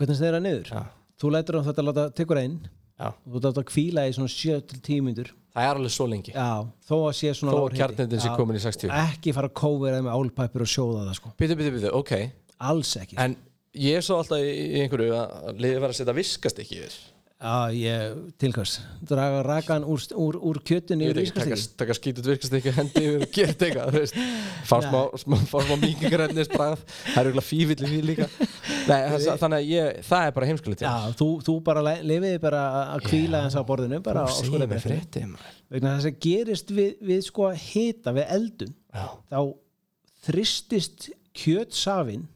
Speaker 2: hvernig það er að niður
Speaker 1: Já.
Speaker 2: þú lætur hann þetta að láta tekur einn
Speaker 1: Já.
Speaker 2: og þú láta að kvíla í svona 7-10 myndur
Speaker 1: Það er alveg svo lengi
Speaker 2: já, þó að sé svona
Speaker 1: Þó
Speaker 2: lágur
Speaker 1: að
Speaker 2: hiti.
Speaker 1: kjarnindin sé
Speaker 2: Já.
Speaker 1: komin í 60
Speaker 2: ekki fara að kóverað með álpæpur og sjóða það sko.
Speaker 1: Bitu, bitu, bitu, ok
Speaker 2: alls ekki
Speaker 1: En ég svo alltaf í, í einhverju að liðið var að setja viskast ekki yfir
Speaker 2: Já, ég, tilkvæmst, draga rakan úr, úr, úr kjötinu
Speaker 1: Ég
Speaker 2: yfir
Speaker 1: veit ekki, taka,
Speaker 2: ískastíð.
Speaker 1: taka skítut virkast ekki hendi yfir og gera eitthvað, þú veist fá
Speaker 2: Nei.
Speaker 1: smá, smá, fá smá mingingrefnis brað, það er eiginlega fífill í því líka Nei, þess, þannig að ég, það er bara heimskulegt
Speaker 2: Já, þú, þú bara le- lifiði bara að- að kvíla eins á borðinu, bara á
Speaker 1: segir mér
Speaker 2: skoðabrettinu.
Speaker 1: frétti maður
Speaker 2: Vegna þess að gerist við, við sko hita, við eldun,
Speaker 1: Já,
Speaker 2: þá þristist kjötsafinn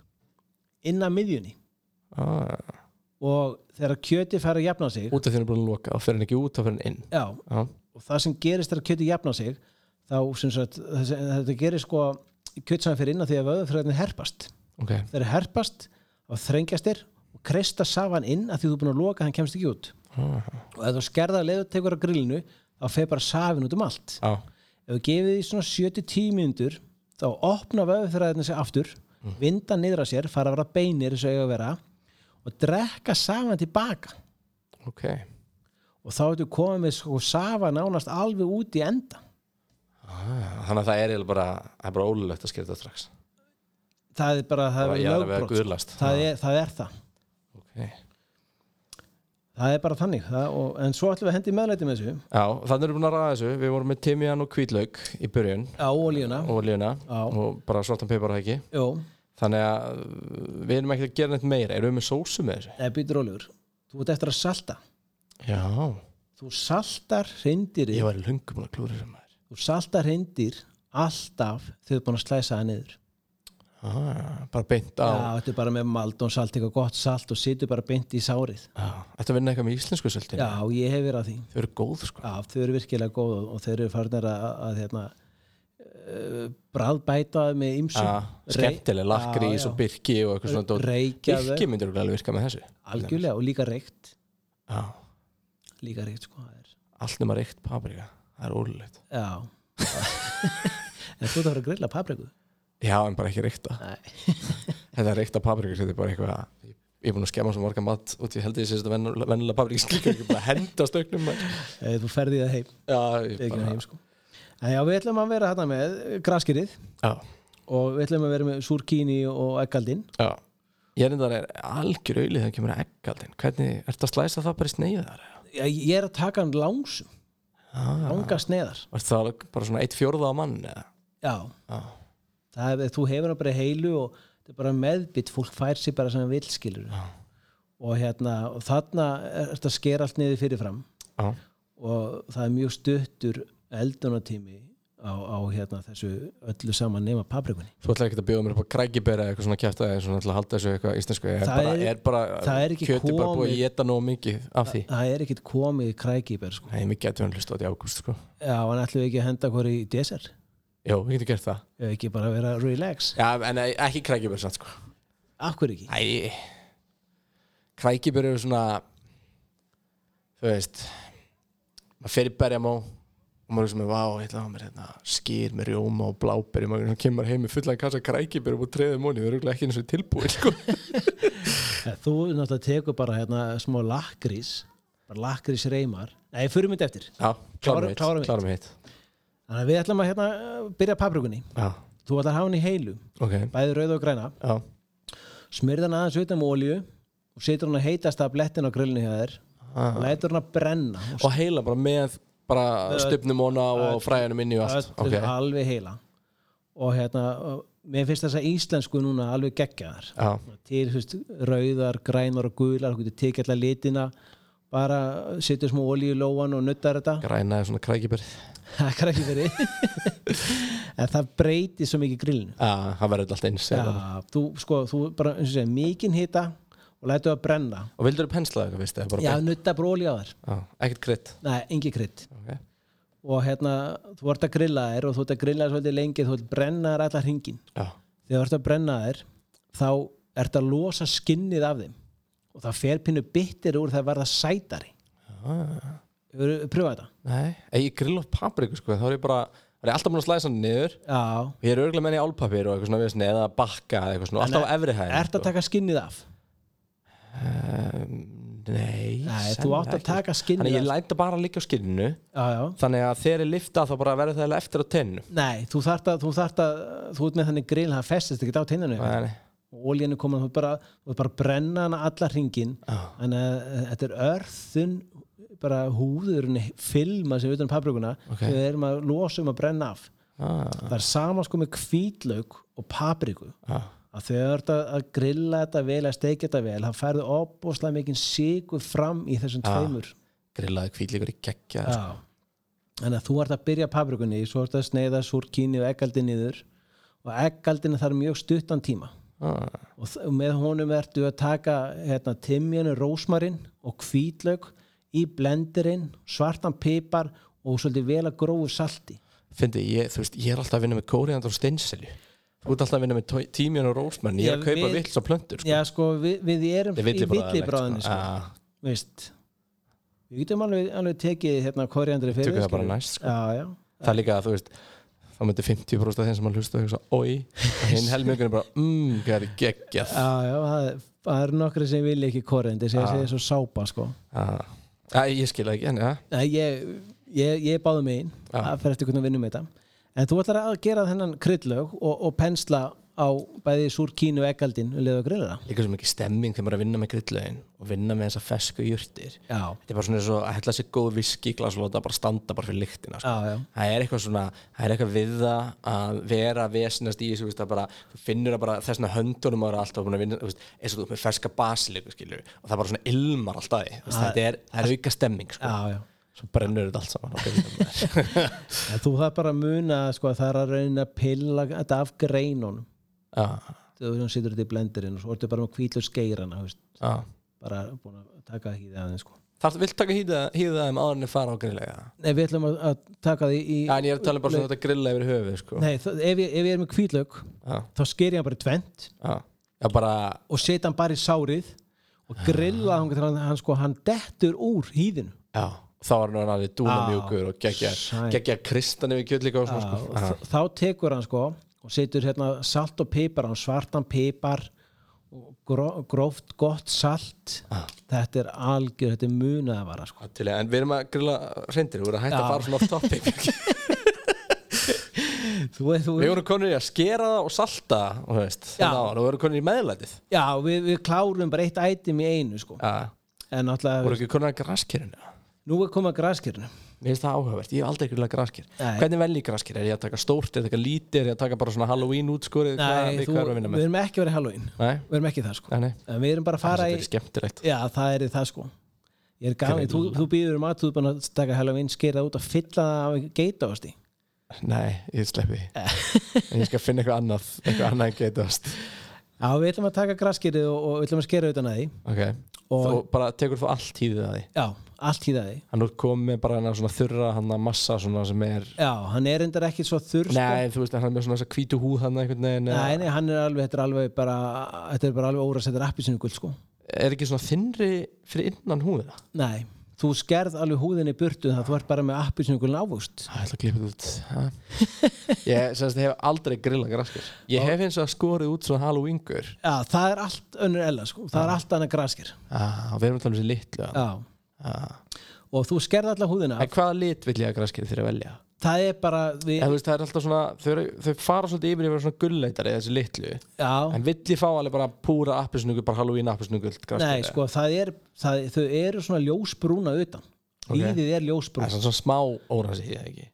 Speaker 2: inn að miðjunni
Speaker 1: ah,
Speaker 2: og þegar kjöti fær að jafna sig,
Speaker 1: út af því hún er búin að loka og fer hann ekki út, þá fer hann inn
Speaker 2: já,
Speaker 1: Já,
Speaker 2: og það sem gerist þegar kjöti jafna sig, þá sem sagt, þessi- þetta gerist sko kjötsafinn fyrir inn að því að vöðufræðin herpast.
Speaker 1: ok
Speaker 2: þeir herpast og þrengjast þér og kreista safan inn að því þú er búin að loka hann kemst ekki út
Speaker 1: Ah,
Speaker 2: og ef þú skerða að leiðu tekur á grillinu þá fer bara safin út um allt
Speaker 1: Já,
Speaker 2: ef þú gefið því svona 7-10 mínútur þá opna vöðuþræðinu sig aftur
Speaker 1: Mm.
Speaker 2: vinda niður að sér, fara að vera beinir eins og eiga að vera og drekka safan tilbaka
Speaker 1: ok
Speaker 2: og þá ertu komið með sko safan nánast alveg út í enda
Speaker 1: Ah, Þannig að það er eiginlega bara, það er bara ólulegt að skera þetta strax
Speaker 2: það er bara, það
Speaker 1: Bara
Speaker 2: er
Speaker 1: ég er að vera
Speaker 2: lögbrot
Speaker 1: guðlast
Speaker 2: það, er- það er það
Speaker 1: okay.
Speaker 2: það er bara þannig það, og, en svo ætlum við að hendi meðlæti með þessu
Speaker 1: Já, þannig erum við búin að ræða þessu Við vorum með timjan og kvítlauk í byrjun
Speaker 2: á olíuna,
Speaker 1: og oljuna
Speaker 2: Já.
Speaker 1: og bara svartan pipar og ekki
Speaker 2: jú
Speaker 1: Þannig að uh, við erum ekkert að gera neitt meira Erum við með sósu með þessu?
Speaker 2: Nei, býtur ólegur. Þú ert eftir að salta.
Speaker 1: Já
Speaker 2: Þú saltar reyndirinn,
Speaker 1: Ég var í löngum búin að klúra þessu maður
Speaker 2: þú saltar reyndir alltaf þegar þú ert búin að slæsa það niður.
Speaker 1: ah, Bara beint á
Speaker 2: Já, þetta er bara með mald og salt, eitthvað gott salt og situr bara beint í sárið.
Speaker 1: Já. Þetta vinna eitthvað með íslensku söltin
Speaker 2: Já, ég hef verið að því.
Speaker 1: Þau eru góð sko
Speaker 2: Já, þau eru virkilega góð og, og þau eru farnir að, að, hérna, uh, bræðbætaði með ymsu.
Speaker 1: Já, Skemmtileg, lakrís
Speaker 2: Já, já.
Speaker 1: og birki og eitthvað svona dót.
Speaker 2: Reykja þau.
Speaker 1: Birki myndir örugglega alveg virka með þessu
Speaker 2: Algjörlega og líka reykt.
Speaker 1: Já,
Speaker 2: Líka reykt, sko. það er-
Speaker 1: allt nema reykt paprika Það er ólulegt
Speaker 2: Já. *laughs* en þú ert að fara að grilla papriku.
Speaker 1: Já, en bara ekki reykta
Speaker 2: Nei.
Speaker 1: *laughs* Þetta er reykta paprikur, þetta er bara eitthvað Ég er búin að skemma svo morga mat út í held ég sé þetta venjulega venjulega paprikur skilur ekki bara að henda stöknum maður.
Speaker 2: Eh, Þú ferði það heim.
Speaker 1: Já,
Speaker 2: Við
Speaker 1: ég
Speaker 2: ekki
Speaker 1: bara
Speaker 2: heim sko En já, við ætlum að vera hérna með graskirið
Speaker 1: Já,
Speaker 2: og við ætlum að vera með súrkíni og ekkaldinn
Speaker 1: já Ég er endar er algjör auðlið þegar kemur að eggaldin Hvernig, ertu að slæsa það bara í sneiðar? eða?
Speaker 2: Já, ég er að taka hann langsum,
Speaker 1: Já,
Speaker 2: langa sneiðar
Speaker 1: varst það bara svona eitt fjórða á mann eða?
Speaker 2: Já,
Speaker 1: Já,
Speaker 2: það er, þú hefur hann bara í heilu og þetta er bara meðbytt, fólk fær sér bara sem hann vill skilur
Speaker 1: Já.
Speaker 2: og hérna, og þarna er þetta að skera allt niður fyrirfram
Speaker 1: já,
Speaker 2: og það er mjög stuttur eldunartími á, á hérna þessu öllu saman nema paprikunni
Speaker 1: þú ætla ekki að bjóða mér upp á krækibera eitthvað svona kjæfta eða svona til að halda þessu eitthvað íslensku er
Speaker 2: Það
Speaker 1: bara,
Speaker 2: er-
Speaker 1: er bara,
Speaker 2: það er ekki
Speaker 1: kjöti bara búið að
Speaker 2: komið-
Speaker 1: geta nóg mikið af því
Speaker 2: Það er ekkit komið krækibær sko.
Speaker 1: Nei, mér getur hann hlustað í ágúst sko
Speaker 2: Já, hann ætlum við ekki að henda hver í desert
Speaker 1: Jó, við getum gert það
Speaker 2: ef ekki bara að vera relax
Speaker 1: Já, en e- ekki krækibjörn samt sko
Speaker 2: Akkur ekki?
Speaker 1: Æ Krækibjörn eru svona Þú veist maður fyrir berjamó og maður er svona, vá, ég ætla á mér hérna skýr með rjóma og bláberi maður svona kemur heim með fullan kassa krækibjörn og treðið móni, þau eru örugglega ekki eins og tilbúið sko.
Speaker 2: *laughs* Þú náttúrulega tekur bara hérna smá lakrís bara lakrís reymar Nei, fyrir mynd eftir
Speaker 1: Já, klárum
Speaker 2: Klárum-
Speaker 1: hitt
Speaker 2: klárum hitt.
Speaker 1: Klárum hitt
Speaker 2: Þannig að við ætlum að hérna uh, byrja paprikunni
Speaker 1: Já,
Speaker 2: Þú ætlar að hafa hann í heilu,
Speaker 1: ok
Speaker 2: bæði rauð og græna
Speaker 1: Já,
Speaker 2: smyrð hann aðeins utan með olíu og setur hann að heitast að blettin á grillinu hjá þér
Speaker 1: Ah.
Speaker 2: lætur hann að brenna og
Speaker 1: og heila bara með bara stupnum hona og fræjanum inn í og allt
Speaker 2: öll
Speaker 1: Ok,
Speaker 2: er alveg heila og hérna, og mér finnst þess að íslensku núna alveg geggjaðar
Speaker 1: já,
Speaker 2: til hefst, rauðar, grænar og gular þú getur tekið allar litina bara setja smá olíu í lóan og nuttar þetta
Speaker 1: grænaði svona krækibjörn
Speaker 2: *laughs* það er ekki verið *laughs* en það breytir svo mikið grillinu
Speaker 1: Já, það verður alltaf eins eða-
Speaker 2: ja, þú, sko, þú bara, eins og segja, mikinn hita og lætur það brenna
Speaker 1: Og vildur þú penslaði eitthvað, veist, eða bara
Speaker 2: já,
Speaker 1: beint?
Speaker 2: nutta bara olíu á þær
Speaker 1: Já, ekkert krydd
Speaker 2: nei, engi krydd
Speaker 1: okay.
Speaker 2: og hérna, þú ert að grilla þær og þú ert að grilla þær svolítið lengi þú ert að brenna þær allar hringin
Speaker 1: Já,
Speaker 2: þegar þú ert að brenna þær þá ert að losa skinnið af þeim og það fer pínu bittir úr það verða sætari ah. pröfa þetta
Speaker 1: nei, Ef ég grill of papriku sko, þá er ég bara þá er ég alltaf búin að slæsa hann niður
Speaker 2: já,
Speaker 1: og ég er örgulega menn í álpapir og eitthvað svona vesni eða bakka eða eitthvað svona, alltaf á efri sko. hæð
Speaker 2: ert að taka skinnið af
Speaker 1: um, Nei,
Speaker 2: Nei, þú
Speaker 1: sennilega
Speaker 2: átt að
Speaker 1: ekki.
Speaker 2: taka skinnið
Speaker 1: Þannig ég
Speaker 2: af
Speaker 1: læta bara að liggja á skinninu
Speaker 2: já, já.
Speaker 1: Þannig að þegar ég lifta þá bara verður það eiginlega eftir á tennu
Speaker 2: nei, þú þart að þú þart að, þú ert með þannig grill það festist ekki á tenninu
Speaker 1: Nei, nei.
Speaker 2: og oljan er komin þú ert bara, þú ert bara að brenna hana alla hringin
Speaker 1: Já.
Speaker 2: en uh, þetta er örþun bara húðurinn filma sem utan paprikuna
Speaker 1: Ok.
Speaker 2: við erum að losa um að brenna af
Speaker 1: Ah,
Speaker 2: það er sama sko með hvítlauk og papriku
Speaker 1: ah.
Speaker 2: að þegar þú ert að grilla þetta vel að steikja þetta vel, það færðu opbóðslega mikið sigur fram í þessum tveimur
Speaker 1: grillaði kvítlíkur í geggja sko.
Speaker 2: Já. Þannig að þú ert að byrja paprikunni, svo ert að sneiða súrkíni og eggaldi niður og eggaldinu þarf mjög stuttan tíma
Speaker 1: ah.
Speaker 2: og þ- með honum ertu að taka hérna, timjanu, rósmarinn og hvítlaug í blenderinn, svartan pipar og svolítið vel að grófu salti.
Speaker 1: Fyndi, ég, þú veist, ég er alltaf að vinna með kóriðandar og steinselju Þú ert alltaf að vinna með tó- tímjón og rósmann Ég er að
Speaker 2: Já,
Speaker 1: kaupa
Speaker 2: við-
Speaker 1: vills og plöntur sko.
Speaker 2: Já, sko, við, við erum
Speaker 1: Þetta er villibráðalegt,
Speaker 2: villibráðinni,
Speaker 1: sko.
Speaker 2: sko,
Speaker 1: Ah,
Speaker 2: veist. Við getum alveg, alveg tekið hérna koriandri fyrir.
Speaker 1: Tökum það bara
Speaker 2: skilur.
Speaker 1: næst sko.
Speaker 2: Já, já.
Speaker 1: Það er líka að þú veist þá myndi 50% af þeim sem að hlusta og hugsa oi, og hinn helmingur er bara mmm, hvað er geggjað
Speaker 2: Já, já, það, er- það er nokkri sem vilja ekki koriandri, sem segja svo sápa, sko.
Speaker 1: ah. ah, Ég skil það ekki, en ja
Speaker 2: Nei, ég, ég, ég báði mig inn
Speaker 1: Já.
Speaker 2: að fyrir eftir hvernig við vinnum með þetta en þú ætlar að gera þennan kryddlaug og, og pensla á bæði súrkínu og ekkaldin og leða að grilla það
Speaker 1: Líka sem ekki stemming þegar maður er að vinna með grillögin og vinna með þessa fesku jurtir
Speaker 2: já,
Speaker 1: Þetta er bara svona eins og að hella sér góð viski í glas og láta það bara standa bara fyrir lyktina sko.
Speaker 2: já, já,
Speaker 1: það er eitthvað svona, það er eitthvað við það að vera vesinast í þessu, þú veist, það bara, þú finnur það bara þessna höndunum að það er alltaf búin að vinna, þú veist, eins og þú ert með ferska basiliku, skilur, og það bara svona ilmar alltaf því, þú veist, þetta er, það er auka stemming, sko,
Speaker 2: já, já.
Speaker 1: svo brennur þetta allt saman á grillinu.
Speaker 2: En þú þarf bara að muna sko, að það er að reyna að pilla þetta af greinunum
Speaker 1: *laughs* Já,
Speaker 2: þegar þú situr þetta í blenderinn og svo ertu bara með hvítlur skeirana þú veist,
Speaker 1: já.
Speaker 2: bara búin að taka það hýði aðeins sko.
Speaker 1: Þarf, vilt taka hýða, hýða þeim áður en þið fara á grillega?
Speaker 2: Nei, við ætlum að, að taka því í
Speaker 1: Já, en ég er að tala um bara svona þetta grilla yfir höfuð, sko.
Speaker 2: Nei, það, ef, ég, ef ég er með hvítlaug
Speaker 1: Já,
Speaker 2: þá sker ég hann bara í tvent
Speaker 1: já. Já, bara,
Speaker 2: og setja hann bara í sárið og grilla hann, hann, hann sko, hann dettur úr hýðinu
Speaker 1: já. Þá var hann alveg dúnamjúkur
Speaker 2: Já,
Speaker 1: og geggja,
Speaker 2: sæll.
Speaker 1: geggja kristan yfir kjöld líka og svona,
Speaker 2: og
Speaker 1: sko. Já,
Speaker 2: þ- þá tekur hann sko og setur hérna salt og pipar hann svartan pipar og gró, gróft gott salt
Speaker 1: Já.
Speaker 2: þetta er algjör, þetta er munað að vara
Speaker 1: *laughs*
Speaker 2: sko.
Speaker 1: Já, Til, en við erum að grilla reyndir, við erum hægt að
Speaker 2: Já.
Speaker 1: fara svona off topic
Speaker 2: *laughs* þú, þú,
Speaker 1: Við vorum konur í að skera það og salta og þú veist,
Speaker 2: Já.
Speaker 1: þannig að við vorum konur í meðlætið
Speaker 2: já, við, við klárum bara eitt ætim í einu sko.
Speaker 1: Já,
Speaker 2: en náttúrulega,
Speaker 1: voru ekki konur að graskerinu
Speaker 2: nú er komað graskirinu
Speaker 1: Mér finnst það áhugavert, ég hef aldrei grillað grasker
Speaker 2: Nei.
Speaker 1: Hvernig vel ég grasker? Er ég að taka stórt, er ég að taka lítið, er ég að taka bara svona Halloween útskorið
Speaker 2: Nei,
Speaker 1: við
Speaker 2: þú,
Speaker 1: hvað erum við að
Speaker 2: við
Speaker 1: vinna með?
Speaker 2: erum ekki verið Halloween
Speaker 1: Nei,
Speaker 2: við erum ekki það sko
Speaker 1: nei, nei,
Speaker 2: en við erum bara að
Speaker 1: það
Speaker 2: fara í
Speaker 1: er skemmtilegt
Speaker 2: Já, það er það sko Ég er gaman, þú, þú býður um að þú er búin að taka Halloween skerða út að fylla það af geitaosti
Speaker 1: Nei, ég sleppi því.
Speaker 2: Eh.
Speaker 1: En ég skal finna eitthvað annað, eitthvað annað en getast
Speaker 2: Já, við ætlum að taka graskerið og, og við ætlum að skera utan að því
Speaker 1: Ok,
Speaker 2: Og-
Speaker 1: þú bara tekur þú allt hýðið að því
Speaker 2: Já, allt í það því
Speaker 1: Hann úr komið bara hennar svona þurra hann massa svona sem er
Speaker 2: Já, hann er endar ekki svo þurr sko.
Speaker 1: Nei, þú veist, hann er með svona þessa hvítu húð hann einhvern veginn eða-
Speaker 2: nei, nei, hann er alveg, þetta er alveg bara þetta er bara alveg óra að setja rappi sinu guld sko
Speaker 1: Er ekki svona þinnri fyrir innan húðina?
Speaker 2: Nei, þú skerð alveg húðinni í burtu þannig að þú ert bara með appi sinu guld ávust
Speaker 1: Það er alltaf klippið út ha? *laughs* Ég semst, hef aldrei grillað graskir Ég hef eins og skorið út svona Halloween-gur
Speaker 2: Já, það er allt önnur ella sko, það er allt annað grasker
Speaker 1: ah, og Við erum alltaf um þessi litlu ah.
Speaker 2: Já, og þú skerð allar húðina
Speaker 1: En hvaða lit vill ég að graskir þeirra velja?
Speaker 2: það er bara, við,
Speaker 1: En, þú veist, það er alltaf svona, þau, eru- þau fara svolítið yfir yfir svona gulleitari þessi litlu
Speaker 2: já
Speaker 1: En vill ég fá alveg bara púra appisnugul bara Halloween appisnugul
Speaker 2: Nei,
Speaker 1: graskir
Speaker 2: sko, það er, það, þau eru svona ljósbrúna utan
Speaker 1: Ok.
Speaker 2: Líðið er
Speaker 1: Það
Speaker 2: ljósbrún
Speaker 1: er svona, svona smá óransi því ekki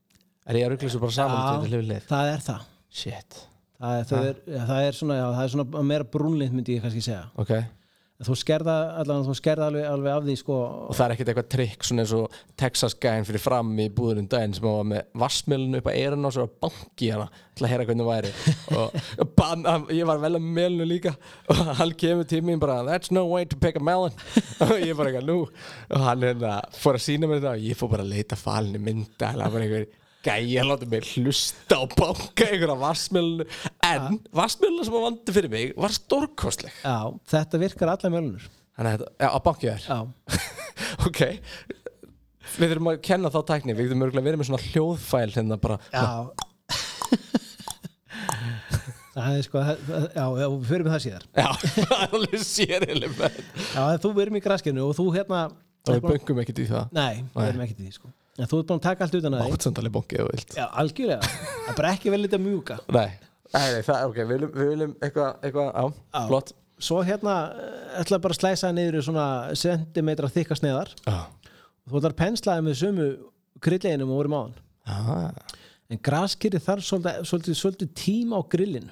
Speaker 1: Er ég að ruggla þessu bara saman
Speaker 2: Já.
Speaker 1: til þetta hlifið lið?
Speaker 2: Það er það
Speaker 1: Shit
Speaker 2: Það er, það, er, ja, það er svona, já, það er svona meira brúnlið myndi ég kannski segja
Speaker 1: Ok
Speaker 2: Þú skerða, allan þú skerða alveg, alveg af því sko *laughs*
Speaker 1: og það er ekkert eitthvað trikk svona eins og Texas gæðin fyrir fram í búðunum daginn sem hann var með vassmelinu upp að eirun á sér og banki hana til að heyra hvernig það væri og ban, hann- ég var vel að melinu líka og hann kemur til mín bara that's no way to pick a melon og ég bara eitthvað nú og hann hérna fór að sína mér þetta og ég fór bara að leita falinu mynda hann var einhver gæja láta mig hlusta og banka einhverja vassmelinu en vassmelinu sem hann vandi fyrir mig var stórkostleg
Speaker 2: Já, þetta virkar alla mjölunur
Speaker 1: þannig að, þetta- hérna, já, að banki þér
Speaker 2: Já,
Speaker 1: ok við þurfum að kenna þá tækni við þurfum örgulega að vera með svona hljóðfæl hérna bara
Speaker 2: já Það er sko, það, það- já, já, við fyrir með það síðar
Speaker 1: já, *laughs* það er alveg sérili og
Speaker 2: Já, en þú erum í graskinu og þú hérna
Speaker 1: við böngum ekkert í það
Speaker 2: Nei, við erum ekki til því sko En þú ert búin að taka allt utan að því
Speaker 1: átsandali böngið og vilt
Speaker 2: Já, algjörlega Það er bara ekki vel lítið að mjúka
Speaker 1: nei, Nei, nei, það, ok, við viljum, við viljum eitthvað, eitthvað, á,
Speaker 2: Já.
Speaker 1: flott
Speaker 2: Svo hérna eh, ætla bara að slæsa niður í svona sentimetra þykka sneiðar
Speaker 1: Já,
Speaker 2: og þú ætlar að penslaði með sömu grillinum og vorum á hann
Speaker 1: Ah.
Speaker 2: en graskýri þarf svolítið, svolítið, svolítið tíma á grillin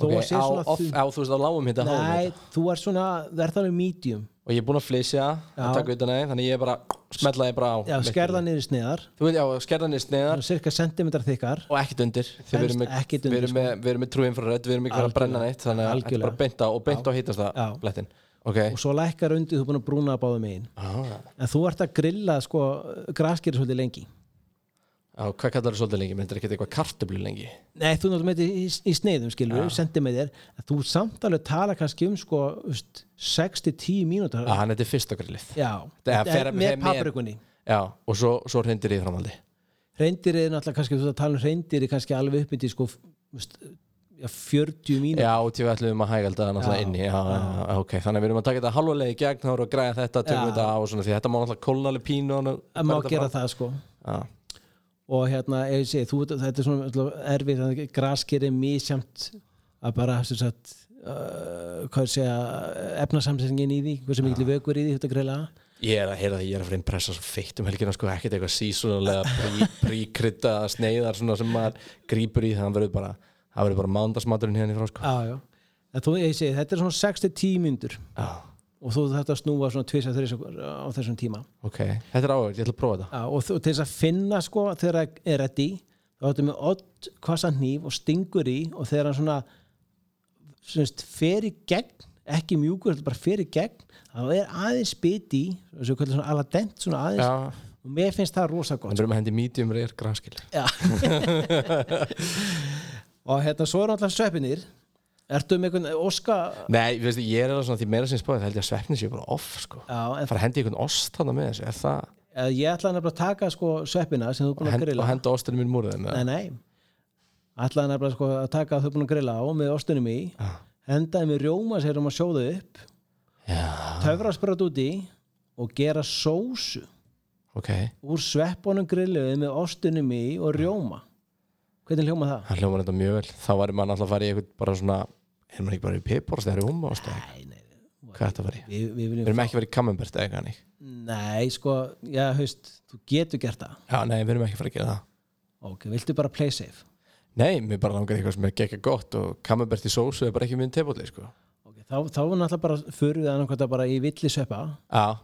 Speaker 2: þó
Speaker 1: ok,
Speaker 2: að sé
Speaker 1: á,
Speaker 2: svona
Speaker 1: off,
Speaker 2: þunn-
Speaker 1: á, þú veist, á lágum hitta háum
Speaker 2: Nei,
Speaker 1: hitta
Speaker 2: þú er svona, það er þannig medium
Speaker 1: Og ég er búinn að flysja,
Speaker 2: Já.
Speaker 1: að taka utan að þannig ég er bara, smetla ég bara á
Speaker 2: Já,
Speaker 1: miklu.
Speaker 2: skerða niður í sneiðar
Speaker 1: Þú veit, já, skerðan er sneðar
Speaker 2: cirka sentimetra þykkar
Speaker 1: og ekkert undir Því við erum með,
Speaker 2: Ekkert
Speaker 1: við
Speaker 2: undir, sko.
Speaker 1: erum með, við erum með trúin frá rödd, við erum ekki að fara að brenna neitt Þannig að þetta er bara
Speaker 2: Algjörlega.
Speaker 1: beint á og beint á hittast það,
Speaker 2: Já.
Speaker 1: blettin Ok,
Speaker 2: og svo lækkar undir þú er búin að brúna að báða megin
Speaker 1: já,
Speaker 2: en þú ert að grilla sko graskýri svolítið lengi
Speaker 1: já, hvað kallar þú svolítið lengi, myndir ekki eitthvað kartöflu lengi
Speaker 2: Nei, þú náttúrulega með í, í sneiðum skilur við, sentimetir, að þú samt alveg tala kannski um sko 6-10 mínútur
Speaker 1: Já, hann þetta er fyrsta grillið
Speaker 2: Já,
Speaker 1: Það
Speaker 2: þetta
Speaker 1: fer-
Speaker 2: er með
Speaker 1: fer með-
Speaker 2: paprikunni
Speaker 1: Já, og svo, svo hrindir í framhaldi
Speaker 2: reyndir er náttúrulega kannski, þú ert að tala um reyndir er kannski alveg uppmyndi sko veist, já, 40 mínútur
Speaker 1: Já, og til við ætlum að hægalda það náttúrulega
Speaker 2: Já.
Speaker 1: inni já, já, já, ok, þannig að við erum að taka þetta halvulega í gegn þá erum við að græða þetta, tökum
Speaker 2: Já.
Speaker 1: þetta á og svona, því þetta má náttúrulega kólna alveg pínu og nú-
Speaker 2: að má
Speaker 1: fer þetta
Speaker 2: gera
Speaker 1: fram.
Speaker 2: það sko
Speaker 1: Já.
Speaker 2: og hérna, ef ég segi, þú, veit að þetta er svona náttúrulega erfið, graskir er misjamt að bara, sem sagt uh, hvað ég segja, efnasamsendingin í því hversu mikil vökur í því, þetta grilla
Speaker 1: Ég er að heyra það, ég er að fara að impressa svo feitt um helgina sko, ekkert eitthvað sísunalega príkrytta sneiðar svona sem maður grípur í, þannig að verður bara það verður bara mándagsmaturinn hérna í frá sko
Speaker 2: Já, já. En þú, ég segi, þetta er svona 6-10 myndur
Speaker 1: Já,
Speaker 2: og þú þarft að snúa svona 2-3 á þessum tíma.
Speaker 1: ok, þetta er áhverjum, ég ætla að prófa þetta
Speaker 2: Já, og, þú- og til þess að finna sko þegar það er ready, þá áttu með odd kvassan hníf og stingur í og þegar hann svona semst, fer í gegn, ekki mjúkur, heldur bara fer í gegn, þá er aðeins bit í, þessu kvöldu svona ala dent svona aðeins
Speaker 1: Já,
Speaker 2: og mér finnst það rosa gott.
Speaker 1: þannig verðum að hendi medium rare graskil
Speaker 2: Já. og hérna, svo er alltaf sveppinir. Ertu með einhvern óska...
Speaker 1: Nei, veistu, ég er alveg svona því meira sem spáði, það held ég að svefni sér bara off sko
Speaker 2: Já, en
Speaker 1: fara að hendi einhvern ost þarna með þessu, er það
Speaker 2: Eða ég ætlaði nefnilega að taka sko sveppina sem þú er búin að
Speaker 1: hend,
Speaker 2: grilla
Speaker 1: og henda ostinu mín múrið þeim
Speaker 2: Nei, nei ætlaði nefnilega sko að taka að þú er búin að grilla á með ostunum í hendaði með rjóma sér um að sjóða upp
Speaker 1: Já,
Speaker 2: töfra sprat út í og gera sósu
Speaker 1: ok
Speaker 2: úr sveppunum grilluðu með ostunum í og rjóma Hvernig hljóma það?
Speaker 1: Það hljóma þetta mjög vel, þá væri maður alltaf að fara í eitthvað bara svona, er maður ekki bara í piparost eða rúma ost, eða
Speaker 2: Nei, nei,
Speaker 1: hvað er þetta að fara í?
Speaker 2: við, við
Speaker 1: Við
Speaker 2: viljum
Speaker 1: erum ekki að fara í kamembert eða eitthvað hannig
Speaker 2: Nei, sko, já, haust, þú getur gert það
Speaker 1: Já, nei, við erum ekki að fara að gera það
Speaker 2: Ok, viltu bara play safe?
Speaker 1: Nei, mér bara langar eitthvað sem er gekka gott og kamembert í sósu er bara ekki minn tebóli, sko
Speaker 2: Okay, þá, þá er náttúrulega bara fyrir við annarkvæmt bara í villi sveppa
Speaker 1: Já,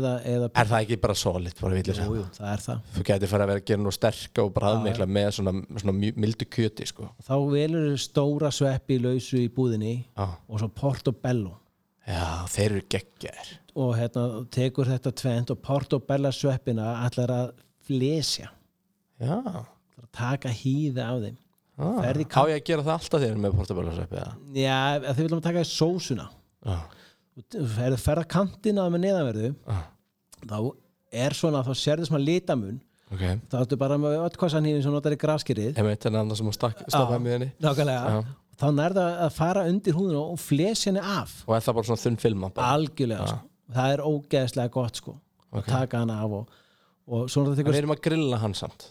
Speaker 2: eða, eða
Speaker 1: er það ekki bara solid, bara vilja
Speaker 2: Jú,
Speaker 1: sem
Speaker 2: jú, það er það
Speaker 1: Þú gæti fara að vera að gera nú sterka og bræðmikla með svona, svona mjú- mildu kjöti, sko
Speaker 2: þá velur stóra sveppi lausu í búðinni
Speaker 1: Já,
Speaker 2: og svo portobello
Speaker 1: Já þeir eru geggjaðir
Speaker 2: og hérna tekur þetta tvent og portobella sveppina ætlar að flesja
Speaker 1: Já,
Speaker 2: ætlar að taka hýða af þeim
Speaker 1: ah.
Speaker 2: Ferð í
Speaker 1: á ég að gera það alltaf þegar með portabellasvepp eða
Speaker 2: já, ef þið viljum að taka í sósuna
Speaker 1: Já,
Speaker 2: og t- ef þið ferða kantina með neðanverðu
Speaker 1: Ah.
Speaker 2: þá er svona, þá sérðu smá litamun
Speaker 1: ok
Speaker 2: þá ertu bara með öllkvassanhýðin sem notar í graskirið
Speaker 1: Ef eitt er annað sem að stafa með henni
Speaker 2: nákvæmlega, þá nærðu að fara undir húðuna og flesja henni af
Speaker 1: og er það bara svona þunn filma bara.
Speaker 2: algjörlega sko. það er ógeðslega gott sko að taka hana af og, og svona það
Speaker 1: En
Speaker 2: tekur
Speaker 1: við erum að grilla hann samt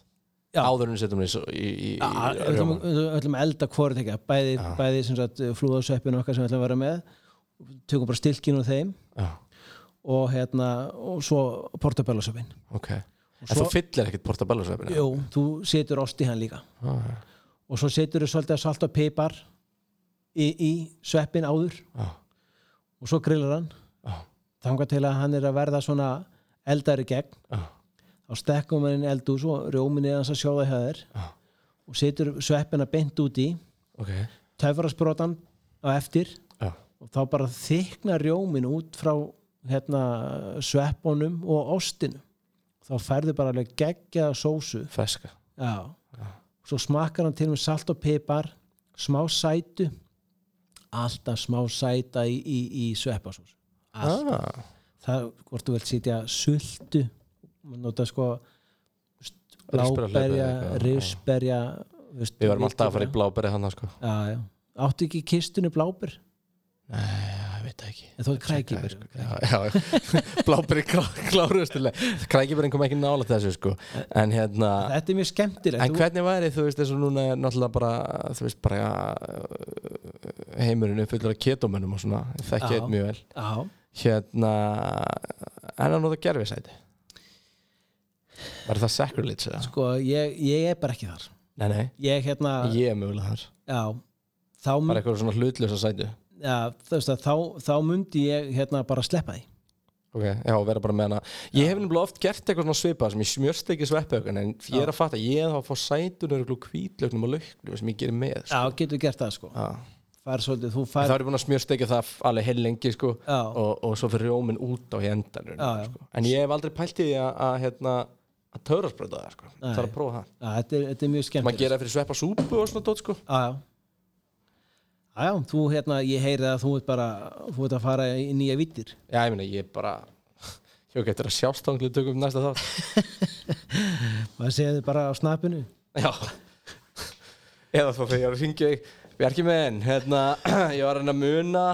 Speaker 2: Já.
Speaker 1: Áður en við setjum hann í, svo- í, í, í,
Speaker 2: Við
Speaker 1: í
Speaker 2: ætlum-
Speaker 1: rjómann.
Speaker 2: við ætlum að elda hvort ekki bæði, bæði sem sagt flúðasveppin okkar sem við ætlum að vera með tökum bara stilkinu og þeim
Speaker 1: Já,
Speaker 2: og hérna og svo portabellasöppin
Speaker 1: ok En þú fyllir ekkert portabellasveppinu
Speaker 2: jú, þú setur ost í hann líka og svo setur þú svolítið af salt og peipar í, í sveppin áður
Speaker 1: Já,
Speaker 2: og svo grillar hann þangar til að hann er að verða svona eldari gegn
Speaker 1: já
Speaker 2: þá stekkum við inn eldús og rjóminni hans að sjóða hjá þér
Speaker 1: Já.
Speaker 2: og setur sveppina beint út í
Speaker 1: Ok,
Speaker 2: töfrasbrotan á eftir
Speaker 1: já,
Speaker 2: og þá bara þykna rjómin út frá hérna, sveppunum og ostinum þá færðu bara alveg geggjaða sósu
Speaker 1: feska
Speaker 2: Já. svo smakkar hann til með salt og pipar smá sætu alltaf smá sæta í, í, í sveppasósu Allt.
Speaker 1: ah,
Speaker 2: það, hvort þú vilt sitja sultu nota sko st-
Speaker 1: Rísberja,
Speaker 2: bláberja,
Speaker 1: hlaupberja, já.
Speaker 2: risberja
Speaker 1: Við varum alltaf að fara í bláberi hann sko
Speaker 2: já, já. áttu ekki í kistunni bláber
Speaker 1: Nei, ég veit veit það ekki
Speaker 2: En þú ert krækibur
Speaker 1: Já, já, *laughs* bláberi kláruðustilega Krækibirinn kom ekki nála þessu sko En hérna
Speaker 2: Þetta er mjög
Speaker 1: En
Speaker 2: skemmtilegt þú,
Speaker 1: hvernig væri, þú veist, eins og núna er náttúrulega bara, þú veist, bara uh, heimurinn er fullur af ketómönnum og svona, ég þekki
Speaker 2: Já.
Speaker 1: þetta mjög vel
Speaker 2: á,
Speaker 1: Hérna, en að nota gerfisæti Var það sacrilege eða?
Speaker 2: sko, ég, ég er bara ekki þar
Speaker 1: Nei, nei,
Speaker 2: Ég hérna
Speaker 1: ég er mögulega þar
Speaker 2: Já, þá,
Speaker 1: Bara
Speaker 2: mun,
Speaker 1: eitthvað svona hlutlösa sæti
Speaker 2: já, þú veist að, þá, þá mundi ég hérna bara sleppa því
Speaker 1: Ok, já, vera bara með hana Ég hef nefnilega oft gert eitthvað svona svipað sem ég smjörst ekki sveppaukan en ég er að fatta, ég hef að fá sætunur og hvítlögnum og lauknum sem ég gerir með sko.
Speaker 2: Já, getur gert það sko
Speaker 1: Já.
Speaker 2: Fær svolítið, þú
Speaker 1: Það
Speaker 2: fær
Speaker 1: er ég búin að smjörstekja það alveg heil lengi sko,
Speaker 2: Já.
Speaker 1: og, og svo fyrir róminn út á í endan
Speaker 2: Já, já.
Speaker 1: sko. En ég hef aldrei pælt í því að, að, hérna, að töfrasprauta það sko. Það er að prófa það
Speaker 2: Já, þetta, er, þetta er mjög
Speaker 1: Maður
Speaker 2: skemmtilegt
Speaker 1: gera það fyrir sveppa súpu og svona dót sko.
Speaker 2: Já, já Já, já, þú hérna, ég heyri að þú ert bara þú ert að fara í nýja vittir
Speaker 1: Já, ég meina, ég bara *laughs* Ég getur að sjástangli tökum næsta þátt
Speaker 2: maður segir þið bara á snappinu
Speaker 1: Já *laughs* Eða þá þegar ég var að ringja í Bjarki menn, hérna, *clears throat* ég var að reyna að muna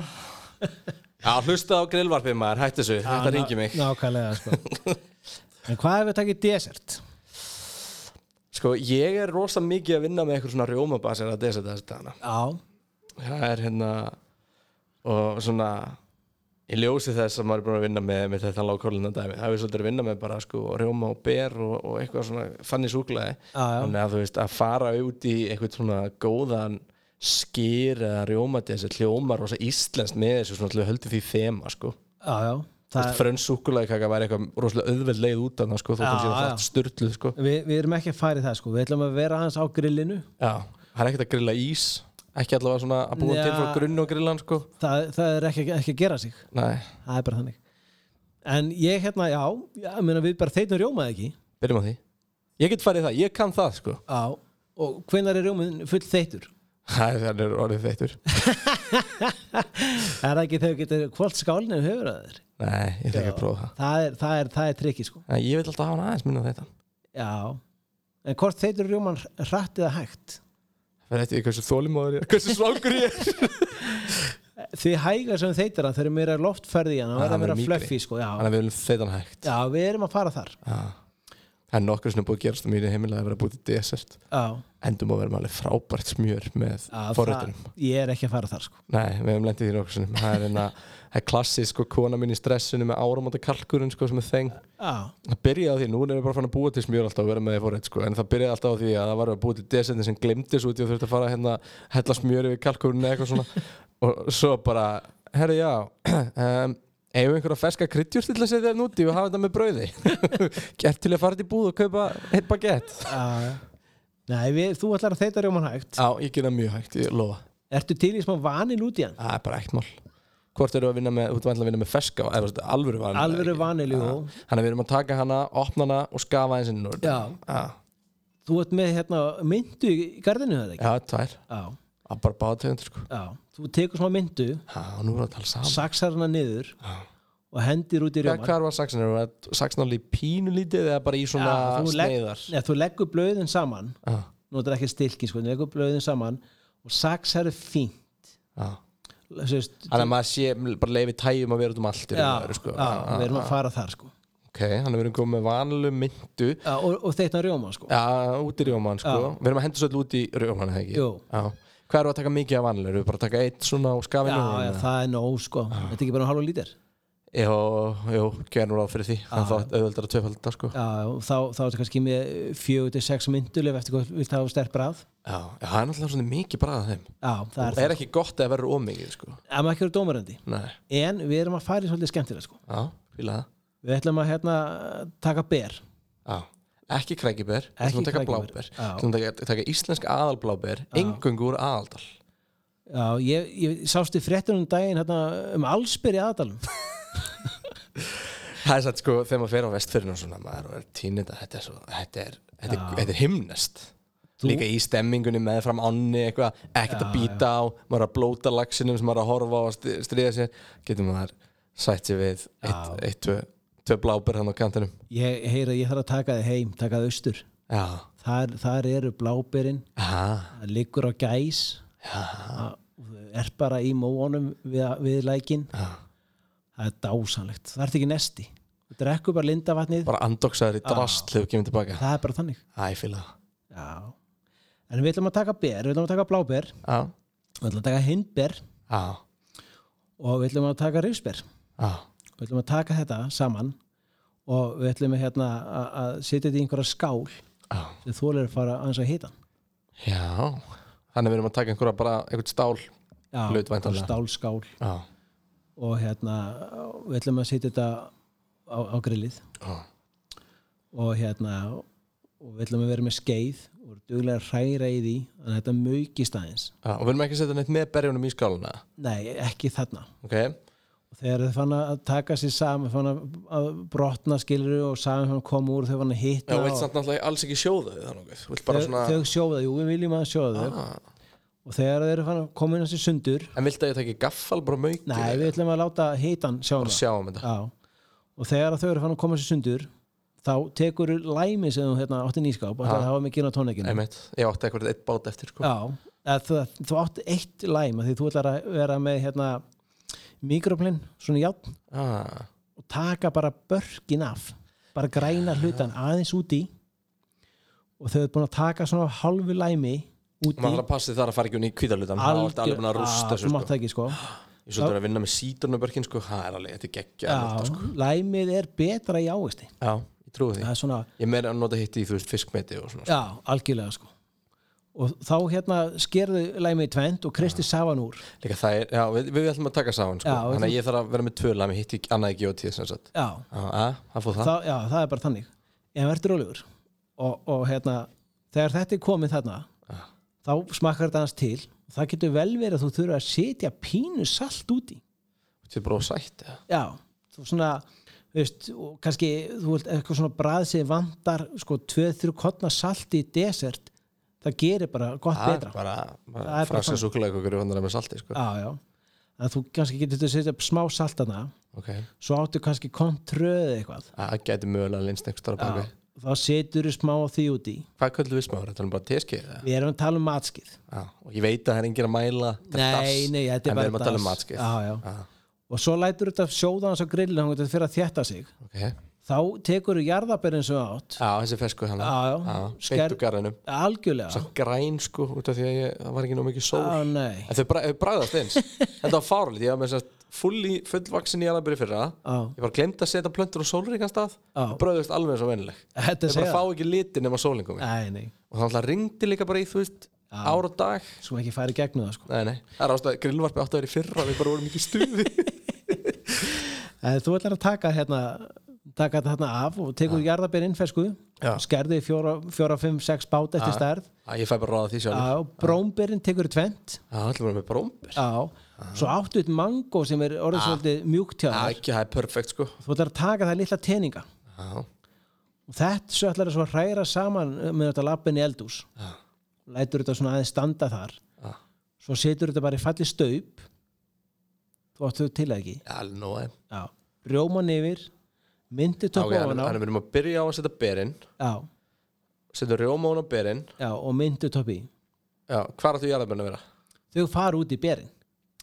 Speaker 1: Já, hlusta á grillvarpið maður, hætti þessu, þetta ringi mig
Speaker 2: Nákvæmlega,
Speaker 1: *laughs*
Speaker 2: sko En hvað ef við takkið desert?
Speaker 1: Sko, ég er rosa mikið að vinna með eitthvað svona rjómabasir að desa þessi dana
Speaker 2: Já,
Speaker 1: Það er hérna og svona í ljósi þess að maður er búin að vinna með, með þetta lágkólina dæmi, það er svolítið að vinna með bara sko rjóma og ber og, og eitthvað svona þannig súklaði,
Speaker 2: Já, já.
Speaker 1: þannig að þú veist að fara út í eitthvað svona góðan skýr eða rjóma þessi hljómar og íslenskt með þessu svona til að höldu því þema sko
Speaker 2: já, já það,
Speaker 1: frönn súklaði kaka væri eitthvað rosalega auðveld leið út af það sko, þú
Speaker 2: Já,
Speaker 1: kannski það
Speaker 2: já.
Speaker 1: fætt styrluð sko
Speaker 2: við, við erum ekki að fara í það, sko Við ætlum að vera hans á grillinu
Speaker 1: já, það er ekkert að grilla ís ekki allavega svona að búa til
Speaker 2: Já.
Speaker 1: frá grunn og grillan sko,
Speaker 2: Það, það er ekki, ekki að gera sig
Speaker 1: nei,
Speaker 2: Það er bara þannig En ég hérna, já, já ég meina, við bara þeitum rjómaði ekki
Speaker 1: byrjum á því ég get farið í það, ég kann það sko *laughs*
Speaker 2: Já Og hvenær er rjómaðin full þeitur?
Speaker 1: Hæ, það er orðið þeittur
Speaker 2: Er það ekki þegar þú getur kvöld skálinu höfur að þér?
Speaker 1: Nei, ég þekki að prófa það
Speaker 2: Það er, það er, það er trikki, sko
Speaker 1: Nei, Ég vil alltaf hafa hann aðeins minna þetta
Speaker 2: Já En hvort þeitur rjóman hratt eða hægt?
Speaker 1: Það er eftir því hversu þólimóður ég er, hversu svangur ég
Speaker 2: *laughs*
Speaker 1: er
Speaker 2: Því hægar sem þeitir hann, þeir eru meira loftferði í hann, hann
Speaker 1: hann
Speaker 2: verður meira
Speaker 1: verður mýkri.
Speaker 2: fluffy sko,
Speaker 1: Þannig
Speaker 2: já.
Speaker 1: að við viljum þeitan hægt
Speaker 2: já, við erum að fara þar
Speaker 1: Já. Það er nokkur sem er búið að gerast á mínu heimilega að vera búið til desert
Speaker 2: já,
Speaker 1: Endum að vera með alveg frábært smjör með
Speaker 2: já,
Speaker 1: forréttunum
Speaker 2: það- Ég er ekki að fara þar sko.
Speaker 1: Nei, við hefum lendið því nokkur sem Það er enna, það er klassísk sko, kona mín í stressinu með áramóta kalkurinn sko, sem er þeng
Speaker 2: já,
Speaker 1: Það byrjaði á því, nú erum við bara fann að búa til smjör alltaf og vera með því fórið, sko, en það byrjaði alltaf á því að það var að búa til desendir sem glimtis út í og þurfti að fara hérna, hella smjöri við kalkurinn eða eitthvað *laughs* svona og svo bara, herri já *clears throat* um, eigum við einhverja ferska kryddjúr til að setja þér núti og hafa þetta með brauði *laughs* gert til að fara til búð og kaupa eitt bagett
Speaker 2: já. Ah. Nei, við, þú ætlar að þeita rjóman hægt
Speaker 1: Já, ég gera mjög hægt, ég lofa
Speaker 2: Ertu til í smá vanil út í hann?
Speaker 1: Það er bara eitt mál Hvort eru að vinna með, þú ert væntanlega að vinna með ferska eða þú veist, alvöru vanil
Speaker 2: Alvöru vanil, jú.
Speaker 1: Þannig að við erum að taka hana, opna hana og skafa eins inn úr henni.
Speaker 2: Já.
Speaker 1: Já,
Speaker 2: Þú ert með hérna, myndu í gardinu eða ekki?
Speaker 1: já, tvær
Speaker 2: Já,
Speaker 1: að bara báða tegundir sko
Speaker 2: já Þú tekur smá myndu,
Speaker 1: Já, nú erum við að tala saman
Speaker 2: saksar hana niður
Speaker 1: Já.
Speaker 2: og hendir út í
Speaker 1: Hvað
Speaker 2: rjóman
Speaker 1: hvar var saksin? Er það saksin alveg pínu lítið eða bara í svona
Speaker 2: Já, þú legg-
Speaker 1: sneiðar?
Speaker 2: Nei, þú leggur blöðin saman
Speaker 1: Já,
Speaker 2: notar ekki stilki, sko, þú leggur blöðin saman og saksar er fínt
Speaker 1: já
Speaker 2: Sérst,
Speaker 1: Þannig að maður sé bara leifi tæjum að vera út um allt í raun og
Speaker 2: já,
Speaker 1: veru, sko.
Speaker 2: já, við erum að fara þar sko
Speaker 1: Ok, þannig að við erum komið með vanlu myndu
Speaker 2: já, og, og þeitna rjóma sko
Speaker 1: Já, út í rjóman sko Við erum að henda svolítið út í rjóman, eða ekki?
Speaker 2: Jú.
Speaker 1: Já Hvað erum við að taka mikið af vanlu? Erum við bara að taka eitt svona og skafinu?
Speaker 2: já, já, það er nóg sko
Speaker 1: Ah.
Speaker 2: þetta er ekki bara hálfa lítir
Speaker 1: Jó, jú, gerðum ráð fyrir því Þannig að það auðveldar að tvöfalda sko
Speaker 2: já, og þá, þá er þetta kannski með fjögur til sex myndulef eftir hvað þú vilt hafa sterk brað
Speaker 1: Já, já, það er náttúrulega svona mikið bara að þeim
Speaker 2: já, það er
Speaker 1: Og
Speaker 2: það
Speaker 1: er ekki gott að verður ómikið sko
Speaker 2: að maður ekki eru dómarandi
Speaker 1: Nei,
Speaker 2: en við erum að fara í svolítið skemmtilega sko
Speaker 1: já, fílaða
Speaker 2: við ætlum að hérna taka ber
Speaker 1: Já, ekki krækiber, við
Speaker 2: Ekki
Speaker 1: ætlum að taka
Speaker 2: krækiber,
Speaker 1: bláber
Speaker 2: já.
Speaker 1: Við ætlum að taka, taka íslensk aðalbláber Engöngu úr aðaldal
Speaker 2: já, ég, ég sástu fréttunum daginn hérna um allsbyr í aðdalum
Speaker 1: Það er satt sko, þegar maður fer á vestfyrinu og svona maður er tínir þetta, þetta er svo þetta er, þetta er, þetta er himnest Líka í stemmingunni með fram ánni eitthvað, ekkert að býta á, maður er að blóta laxinum sem maður er að horfa á og stri- stríða sér getur maður sætt sér við eitt, eitt, tvö, tvö bláber hann á kantinum
Speaker 2: ég heyra, ég þarf að taka þið heim taka þið austur
Speaker 1: Já,
Speaker 2: þar, þar eru bláberinn
Speaker 1: aha,
Speaker 2: það liggur á gæs
Speaker 1: já
Speaker 2: að- og þú er bara í móanum við, við lækin
Speaker 1: Já.
Speaker 2: það er dásanlegt, það ert ekki nesti þú drekkur bara lindavatnið
Speaker 1: bara andoksaður í drast þegar við kemum tilbaka
Speaker 2: það er bara þannig
Speaker 1: Æ, fíla það.
Speaker 2: Já. en við ætlum að taka ber, við ætlum að taka bláber
Speaker 1: Já,
Speaker 2: við ætlum að taka hindber
Speaker 1: já,
Speaker 2: og við ætlum að taka rifsber
Speaker 1: já
Speaker 2: við ætlum að taka þetta saman og við ætlum að, hérna, að, að setja þetta í einhverja skál
Speaker 1: Já.
Speaker 2: sem þólir að fara aðeins að hita
Speaker 1: Já, þannig við erum að taka einhverja bara einhvern stál Laut væntanlega.
Speaker 2: stálskál
Speaker 1: Já,
Speaker 2: og hérna, við ætlum að setja þetta á, á grillið
Speaker 1: já,
Speaker 2: og hérna og við ætlum að vera með skeið og vera duglega að hræra í því þannig að þetta mögist aðeins
Speaker 1: já Og við erum ekki að setja neitt með berjunum í skáluna
Speaker 2: nei, ekki þarna
Speaker 1: Ok,
Speaker 2: og þegar þau fann að taka sér saman fann að- að brotna skilur og saman fann að koma úr þau fann að
Speaker 1: já,
Speaker 2: hitta
Speaker 1: þú vilt
Speaker 2: og
Speaker 1: samt náttúrulega alls ekki sjóða þau þannig Þú vilt bara
Speaker 2: þau,
Speaker 1: svona
Speaker 2: þau sjóða, jú við viljum að sjóða þau
Speaker 1: Ah,
Speaker 2: og þegar þeir eru fann að koma inn að sér sundur
Speaker 1: En vilt að ég taki gaffal bara mauki
Speaker 2: nei, við ætlum að láta hitan sjá
Speaker 1: Bara
Speaker 2: hana
Speaker 1: sjá um þetta
Speaker 2: Já. og þegar þau eru fann að koma sér sundur þá tekur læmi sem þú hérna, átti nýskáp og
Speaker 1: Já.
Speaker 2: það hafa mikið inn á tónleikinu
Speaker 1: Einmitt, ég átti eitthvað eitt bát eftir sko.
Speaker 2: Já, að þú, þú átt eitt læm af því þú ætlar að vera með hérna, mikroplinn, svona játn
Speaker 1: ah,
Speaker 2: og taka bara börkin af bara græna hlutan aðeins úti og þau eru búin að taka svona halvu læmi úti
Speaker 1: Maður þarf að passa því þar að fara ekki unni í kvítalutan Það er alveg búin að rústa
Speaker 2: svo
Speaker 1: þessu
Speaker 2: mátt
Speaker 1: sko.
Speaker 2: það ekki sko
Speaker 1: Ég svolítið er að vinna með sítrunubörkin sko. Það er alveg, þetta er geggja
Speaker 2: Já, læmið er betra í ávisti
Speaker 1: já, ég trúi því
Speaker 2: það er svona,
Speaker 1: Ég er meira að nota hitt í, þú veist, fiskmeti og svona sko.
Speaker 2: já, algjörlega sko og þá hérna skerðu læmið í tvend og kristi safann úr
Speaker 1: Líka það er, já, við, við ætlum að taka saman sko.
Speaker 2: Já, við
Speaker 1: Þannig að ég þarf að vera með tvö lami hitt í annað ekki og tíð sem sagt
Speaker 2: já,
Speaker 1: Já, já, það fór það
Speaker 2: það, já, það er bara þannig en verður rólegur og, og hérna, þegar þetta er komið þarna þá smakkar þetta hans til það getur vel verið að þú þurfa að setja pínu salt úti
Speaker 1: Þetta er bara of sætt ja.
Speaker 2: já, þú svona veist, og kannski þú vilt eitthvað svona brað sem vantar sko 2-3 kottna salt í desert það gerir bara gott
Speaker 1: Það er
Speaker 2: betra
Speaker 1: bara,
Speaker 2: Það
Speaker 1: bara
Speaker 2: er bara
Speaker 1: fransa
Speaker 2: þannig.
Speaker 1: súkulega ykkur vandar með salti sko.
Speaker 2: já, já, að þú kannski getur þetta að setja smá salt þarna
Speaker 1: Ok, Já,
Speaker 2: svo áttu kannski kontröð eitthvað
Speaker 1: það gæti mögulega linst einhvers þar á
Speaker 2: já,
Speaker 1: baki
Speaker 2: þá setur þú smá á því úti
Speaker 1: Hvað köllum við smáður? Þetta er bara teskið eða?
Speaker 2: við erum að tala um matskið
Speaker 1: Já, og ég veit að það er engin að mæla þetta er
Speaker 2: Nei,
Speaker 1: dass,
Speaker 2: nei, þetta er
Speaker 1: En við
Speaker 2: bara
Speaker 1: erum að tala um
Speaker 2: dass.
Speaker 1: matskið
Speaker 2: Já, já. Og svo lætur þetta sjóða hans á grillinu þannig að þetta fyrir að þétta sig.
Speaker 1: ok Já,
Speaker 2: Þá tekur þú jarðaberin sem þú átt,
Speaker 1: þessi fesku hann
Speaker 2: Já, já. Sker-
Speaker 1: Beint úr garðinum
Speaker 2: algjörlega.
Speaker 1: Svo græn sko, út af því að ég, það var ekki nú mikið sól
Speaker 2: Á, nei.
Speaker 1: En þau bra- þau bragðast
Speaker 2: *laughs*
Speaker 1: eins Þetta var fárlít, ég var með þess að fulli fullvaksin í alabri fyrra
Speaker 2: Á,
Speaker 1: Ég bara glemt að setja plöntur á sólríkan stað
Speaker 2: á.
Speaker 1: Bröðust alveg eins og vennileg
Speaker 2: Þetta
Speaker 1: Þau
Speaker 2: segja
Speaker 1: bara fá ekki liti nema sólingum
Speaker 2: Nei, nei.
Speaker 1: og það alltaf ringdi líka bara í þú veist ár og dag
Speaker 2: Svo ekki færi gegnum það, sko.
Speaker 1: nei, nei. það er ástæða, grillvarpi átti að vera í fyrra við bara vorum ekki í
Speaker 2: *laughs*
Speaker 1: stuði
Speaker 2: En þú ætlar að taka hérna taka þetta hérna af og tekur þú jarðaberin fersku,
Speaker 1: Já.
Speaker 2: skerðu í fjóra, fjóra, fimm, sex bát eftir stærð,
Speaker 1: Æ, ég fæ bara ráða því sjálf
Speaker 2: á, brómberin tekur þú tvent,
Speaker 1: það ætlum bara með brómber
Speaker 2: á, svo áttu eitt mango sem er orðið svolítið mjúkt hjá
Speaker 1: það er
Speaker 2: þér,
Speaker 1: ekki, það er perfekt sko
Speaker 2: þú ætlar að taka það litla teninga.
Speaker 1: já,
Speaker 2: og þetta svo ætlar að svo hræra saman eh, með þetta lappin í eldús
Speaker 1: Já.
Speaker 2: lætur þetta svona aðeins standa þar
Speaker 1: Já.
Speaker 2: svo setur þetta bara í falli staup þú áttu til að ekki
Speaker 1: alveg nóg aðeim.
Speaker 2: Já. rjóman yfir myndi
Speaker 1: Já, ok,
Speaker 2: tökku
Speaker 1: hann
Speaker 2: ofan á
Speaker 1: hann er verið að byrja á að setja berinn
Speaker 2: já,
Speaker 1: setja rjóma hún á berinn
Speaker 2: já, og myndi tökku í
Speaker 1: já, hvað áttu jarðabinn að vera?
Speaker 2: þau fara út í berin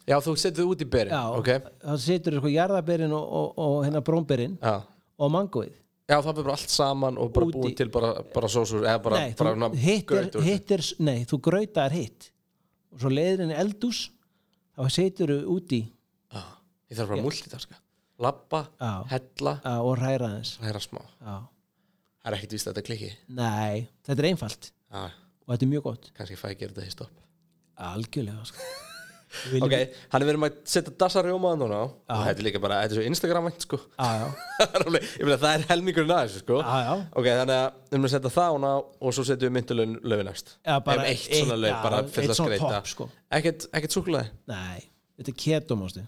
Speaker 1: já, þú setur þau út í berinn
Speaker 2: já,
Speaker 1: ok
Speaker 2: þá setur þau sko jarðaberin og, og, og hérna brómberin
Speaker 1: já.
Speaker 2: og mangoið
Speaker 1: já, það verður bara allt saman og bara
Speaker 2: Út í-
Speaker 1: búin til bara, bara sósur eða bara,
Speaker 2: nei,
Speaker 1: bara
Speaker 2: þú hittir,
Speaker 1: gaut úr þessu.
Speaker 2: hittir nei, þú grautar hitt og svo leiðir henni eldús þá setur þau út í
Speaker 1: Já, ég þarf bara að multitarska labba,
Speaker 2: Já.
Speaker 1: hella,
Speaker 2: á, og hræra þess
Speaker 1: hræra smá
Speaker 2: Já.
Speaker 1: það er ekkert víst að þetta klikki
Speaker 2: Nei, þetta er einfalt
Speaker 1: já,
Speaker 2: og þetta er mjög gott.
Speaker 1: kannski fæ ég gera þetta í stopp
Speaker 2: Algjörlega, sko.
Speaker 1: *laughs* ok, hann er verið að setja dassa rjóma núna og þetta er líka bara, þetta er svo Instagram-vænt sko *laughs*
Speaker 2: Já, já,
Speaker 1: Það er alveg- ég meina það er helmingurinn aðeins sko
Speaker 2: já, já.
Speaker 1: ok, þannig að við erum að setja það hún á og svo setjum við myndulögin löfi næst
Speaker 2: Já, bara
Speaker 1: ef eitt svona lög,
Speaker 2: já,
Speaker 1: bara
Speaker 2: eitt
Speaker 1: fylla
Speaker 2: svona
Speaker 1: skreita
Speaker 2: topp, sko.
Speaker 1: ekkert, ekkert súkulaði
Speaker 2: Nei, þetta er keto, mástu.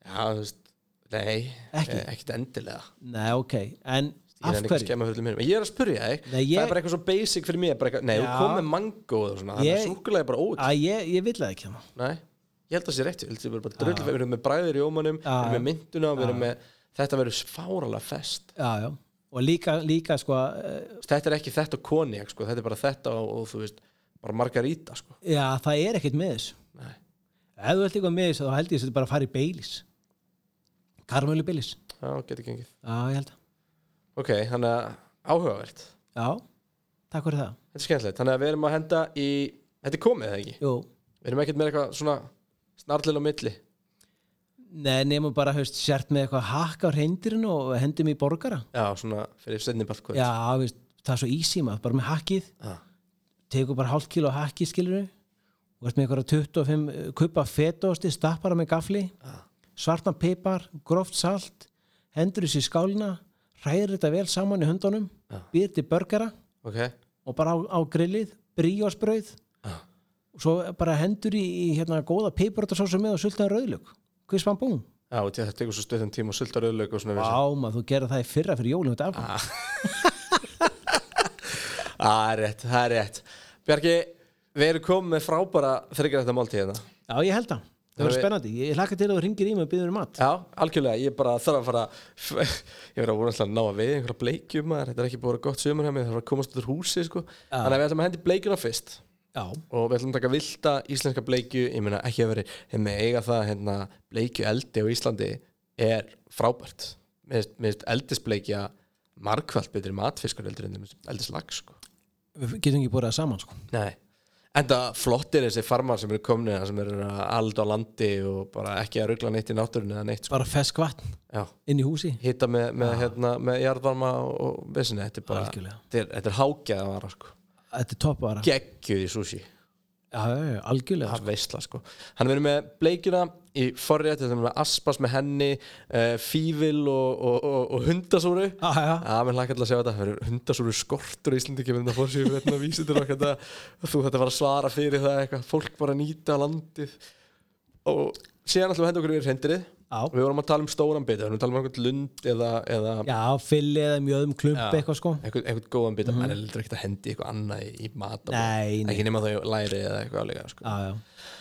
Speaker 1: já, þú veist, nei,
Speaker 2: Ekki.
Speaker 1: eh, ekkert endilega
Speaker 2: Nei, ok, en
Speaker 1: Ég
Speaker 2: af
Speaker 1: er ekki að
Speaker 2: hverju?
Speaker 1: skemma höllum hinum. Ég er að spurja þig,
Speaker 2: Nei, ég-
Speaker 1: það er bara eitthvað svo basic fyrir mér, bara eitthvað, nei, þú
Speaker 2: Já.
Speaker 1: kom með mango og svona, þannig
Speaker 2: Ég- Ah.
Speaker 1: að súkulega er bara óut.
Speaker 2: Að ég, ég vill það ekki hérna. hana.
Speaker 1: Nei, ég held að það sé rétt, ég held að það er bara
Speaker 2: Ah.
Speaker 1: dröðlega, við erum með bræðir í ómanum, við erum með mynduna, við erum með, þetta verður fáralega fest.
Speaker 2: Já, já. Og líka, líka, sko, eh,
Speaker 1: Þetta er ekki þetta og konjak, sko, þetta er bara þetta og, og þú veist, bara margarita, sko.
Speaker 2: já, það er ekkert með þessu.
Speaker 1: Nei.
Speaker 2: ef þú ert eitthvað með þessu þá held ég að þetta bara að fara í beilis karmölu beilis
Speaker 1: Já, getur gengið.
Speaker 2: já, ég held að
Speaker 1: Ok, þannig að áhugavert.
Speaker 2: já, takk fyrir það
Speaker 1: Þetta er skemmtilegt. Þannig að við erum að henda í... Þetta er komið, eða ekki?
Speaker 2: Jú.
Speaker 1: Við erum ekkert með eitthvað svona snarlil á milli.
Speaker 2: nei, nema bara höfst sért með eitthvað hakka á reyndirinn og hendim í borgara
Speaker 1: Já, svona fyrir setni balkvöld.
Speaker 2: já, veist, það er svo easy maður, bara með hakkið
Speaker 1: Já.
Speaker 2: tekur bara hálft kíl á hakkið skilur og eh, ert með eitthvað 25 kupa fetosti, stappara með gafli
Speaker 1: Já.
Speaker 2: svartan pipar, gróft salt hendur þessi í skálina hræðir þetta vel saman í höndunum
Speaker 1: Já.
Speaker 2: býr til börgara
Speaker 1: Ok. Ah.
Speaker 2: og bara á, á grillið, bríjósbrauð
Speaker 1: Já.
Speaker 2: og svo bara hendur í, í hérna góða piparötasósu með og sultan rauðlög hvers fann búin?
Speaker 1: Já, og þetta tekur svo stöðum tíma og sultar öðlaug og svona við
Speaker 2: Vá maður, þú gerir það í fyrra fyrir jólum þetta afgang.
Speaker 1: Það er rétt, það er rétt. Bjarki, við erum komið með frábæra þryggir þetta máltíðina.
Speaker 2: Já, ég held það, það verður
Speaker 1: við-
Speaker 2: spennandi ég hlakka til að þú ringir í mig og býður um mat
Speaker 1: Já, algjörlega, ég bara þarf að fara *laughs* ég verður að voru alltaf að ná að veið einhverja bleikjum maður, þetta er ekki búið að vera gott sömur hjá mig það þarf að komast út úr húsi, sko þannig að við ætlum að hendi bleikjuna fyrst
Speaker 2: Já,
Speaker 1: og við ætlum að taka vilda íslenska bleikju ég meina ekki að veri, hef með eiga það hérna, bleikju eldi á Íslandi er frábært Mér minnst eldisbleikja margfald betri matfiskur eldur en eldislag sko.
Speaker 2: við getum ekki borðað saman sko.
Speaker 1: Nei, enda flottir þessi farmar sem eru komni sem eru alda á landi og bara ekki að rugla neitt í náttúrunni eða neitt sko.
Speaker 2: bara fesk vatn
Speaker 1: Já
Speaker 2: inn í húsi
Speaker 1: hitta með, með, hérna, með jarðvarma og, og vissinni, þetta er bara
Speaker 2: Algjörlega.
Speaker 1: þetta er, þetta er hágæða vara sko.
Speaker 2: Þetta er topp bara Já,
Speaker 1: geggjuð í sushi
Speaker 2: já, já, algjörlega
Speaker 1: það er veistla sko hann verður með bleikjuna í forrétt þetta er með aspas með henni uh, fívil og, og, og, og hundasúru
Speaker 2: Já, já, já.
Speaker 1: Já, menn hlakka alltaf að segja þetta, það verður hundasúru skortur í Íslandi kemur þetta fórsýðu fyrir þetta vísið hérna til okkar þetta þú þetta var að svara fyrir það eitthvað fólk bara að nýta landið og síðan alltaf henda okkur við hreindirið
Speaker 2: Já.
Speaker 1: við vorum að tala um stóran bita, við vorum að tala um einhvern lund eða, eða
Speaker 2: Já, fylli eða mjöðum klump
Speaker 1: Já.
Speaker 2: eitthvað sko
Speaker 1: einhvern, einhvern góðan bita, maður er heldur ekkert að hendi eitthvað annað í, í mat
Speaker 2: Nei, nei.
Speaker 1: ekki nema þau læri eða eitthvað álega sko.
Speaker 2: Já, já,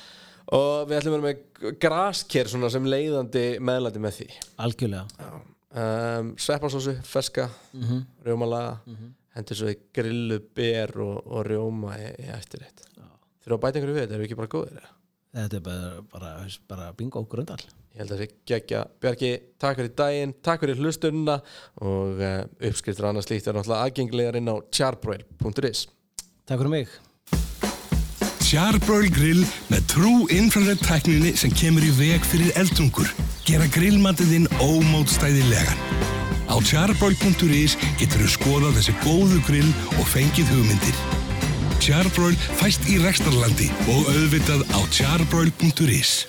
Speaker 1: og við ætlum að vera með grasker svona sem leiðandi meðlæti með því
Speaker 2: algjörlega
Speaker 1: um, sveppasósu, feska rjómalaga, hendur svo í grillu ber og, og rjóma í, í eftirreitt þurfum að bæta einhverju við, þetta eru ekki bara góðir eða?
Speaker 2: Þetta er bara, bara, bara bingo grundal
Speaker 1: ég held að þessi geggja Bjarki, takk fyrir daginn, takk fyrir hlustunna og uh, uppskriftur og annað slíkt er náttúrulega aðgengilegar inn á charbroil.is
Speaker 2: Takk fyrir mig
Speaker 3: Charbroil Grill með trú infrared tækninni sem kemur í veg fyrir eldungur. Gera grillmatiðinn ómótstæðilegan. Á charbroil.is getur þú skoðað þessi góðu grill og fengið hugmyndir. Charbroil fæst í rekstarlandi og auðvitað á charbroil.is.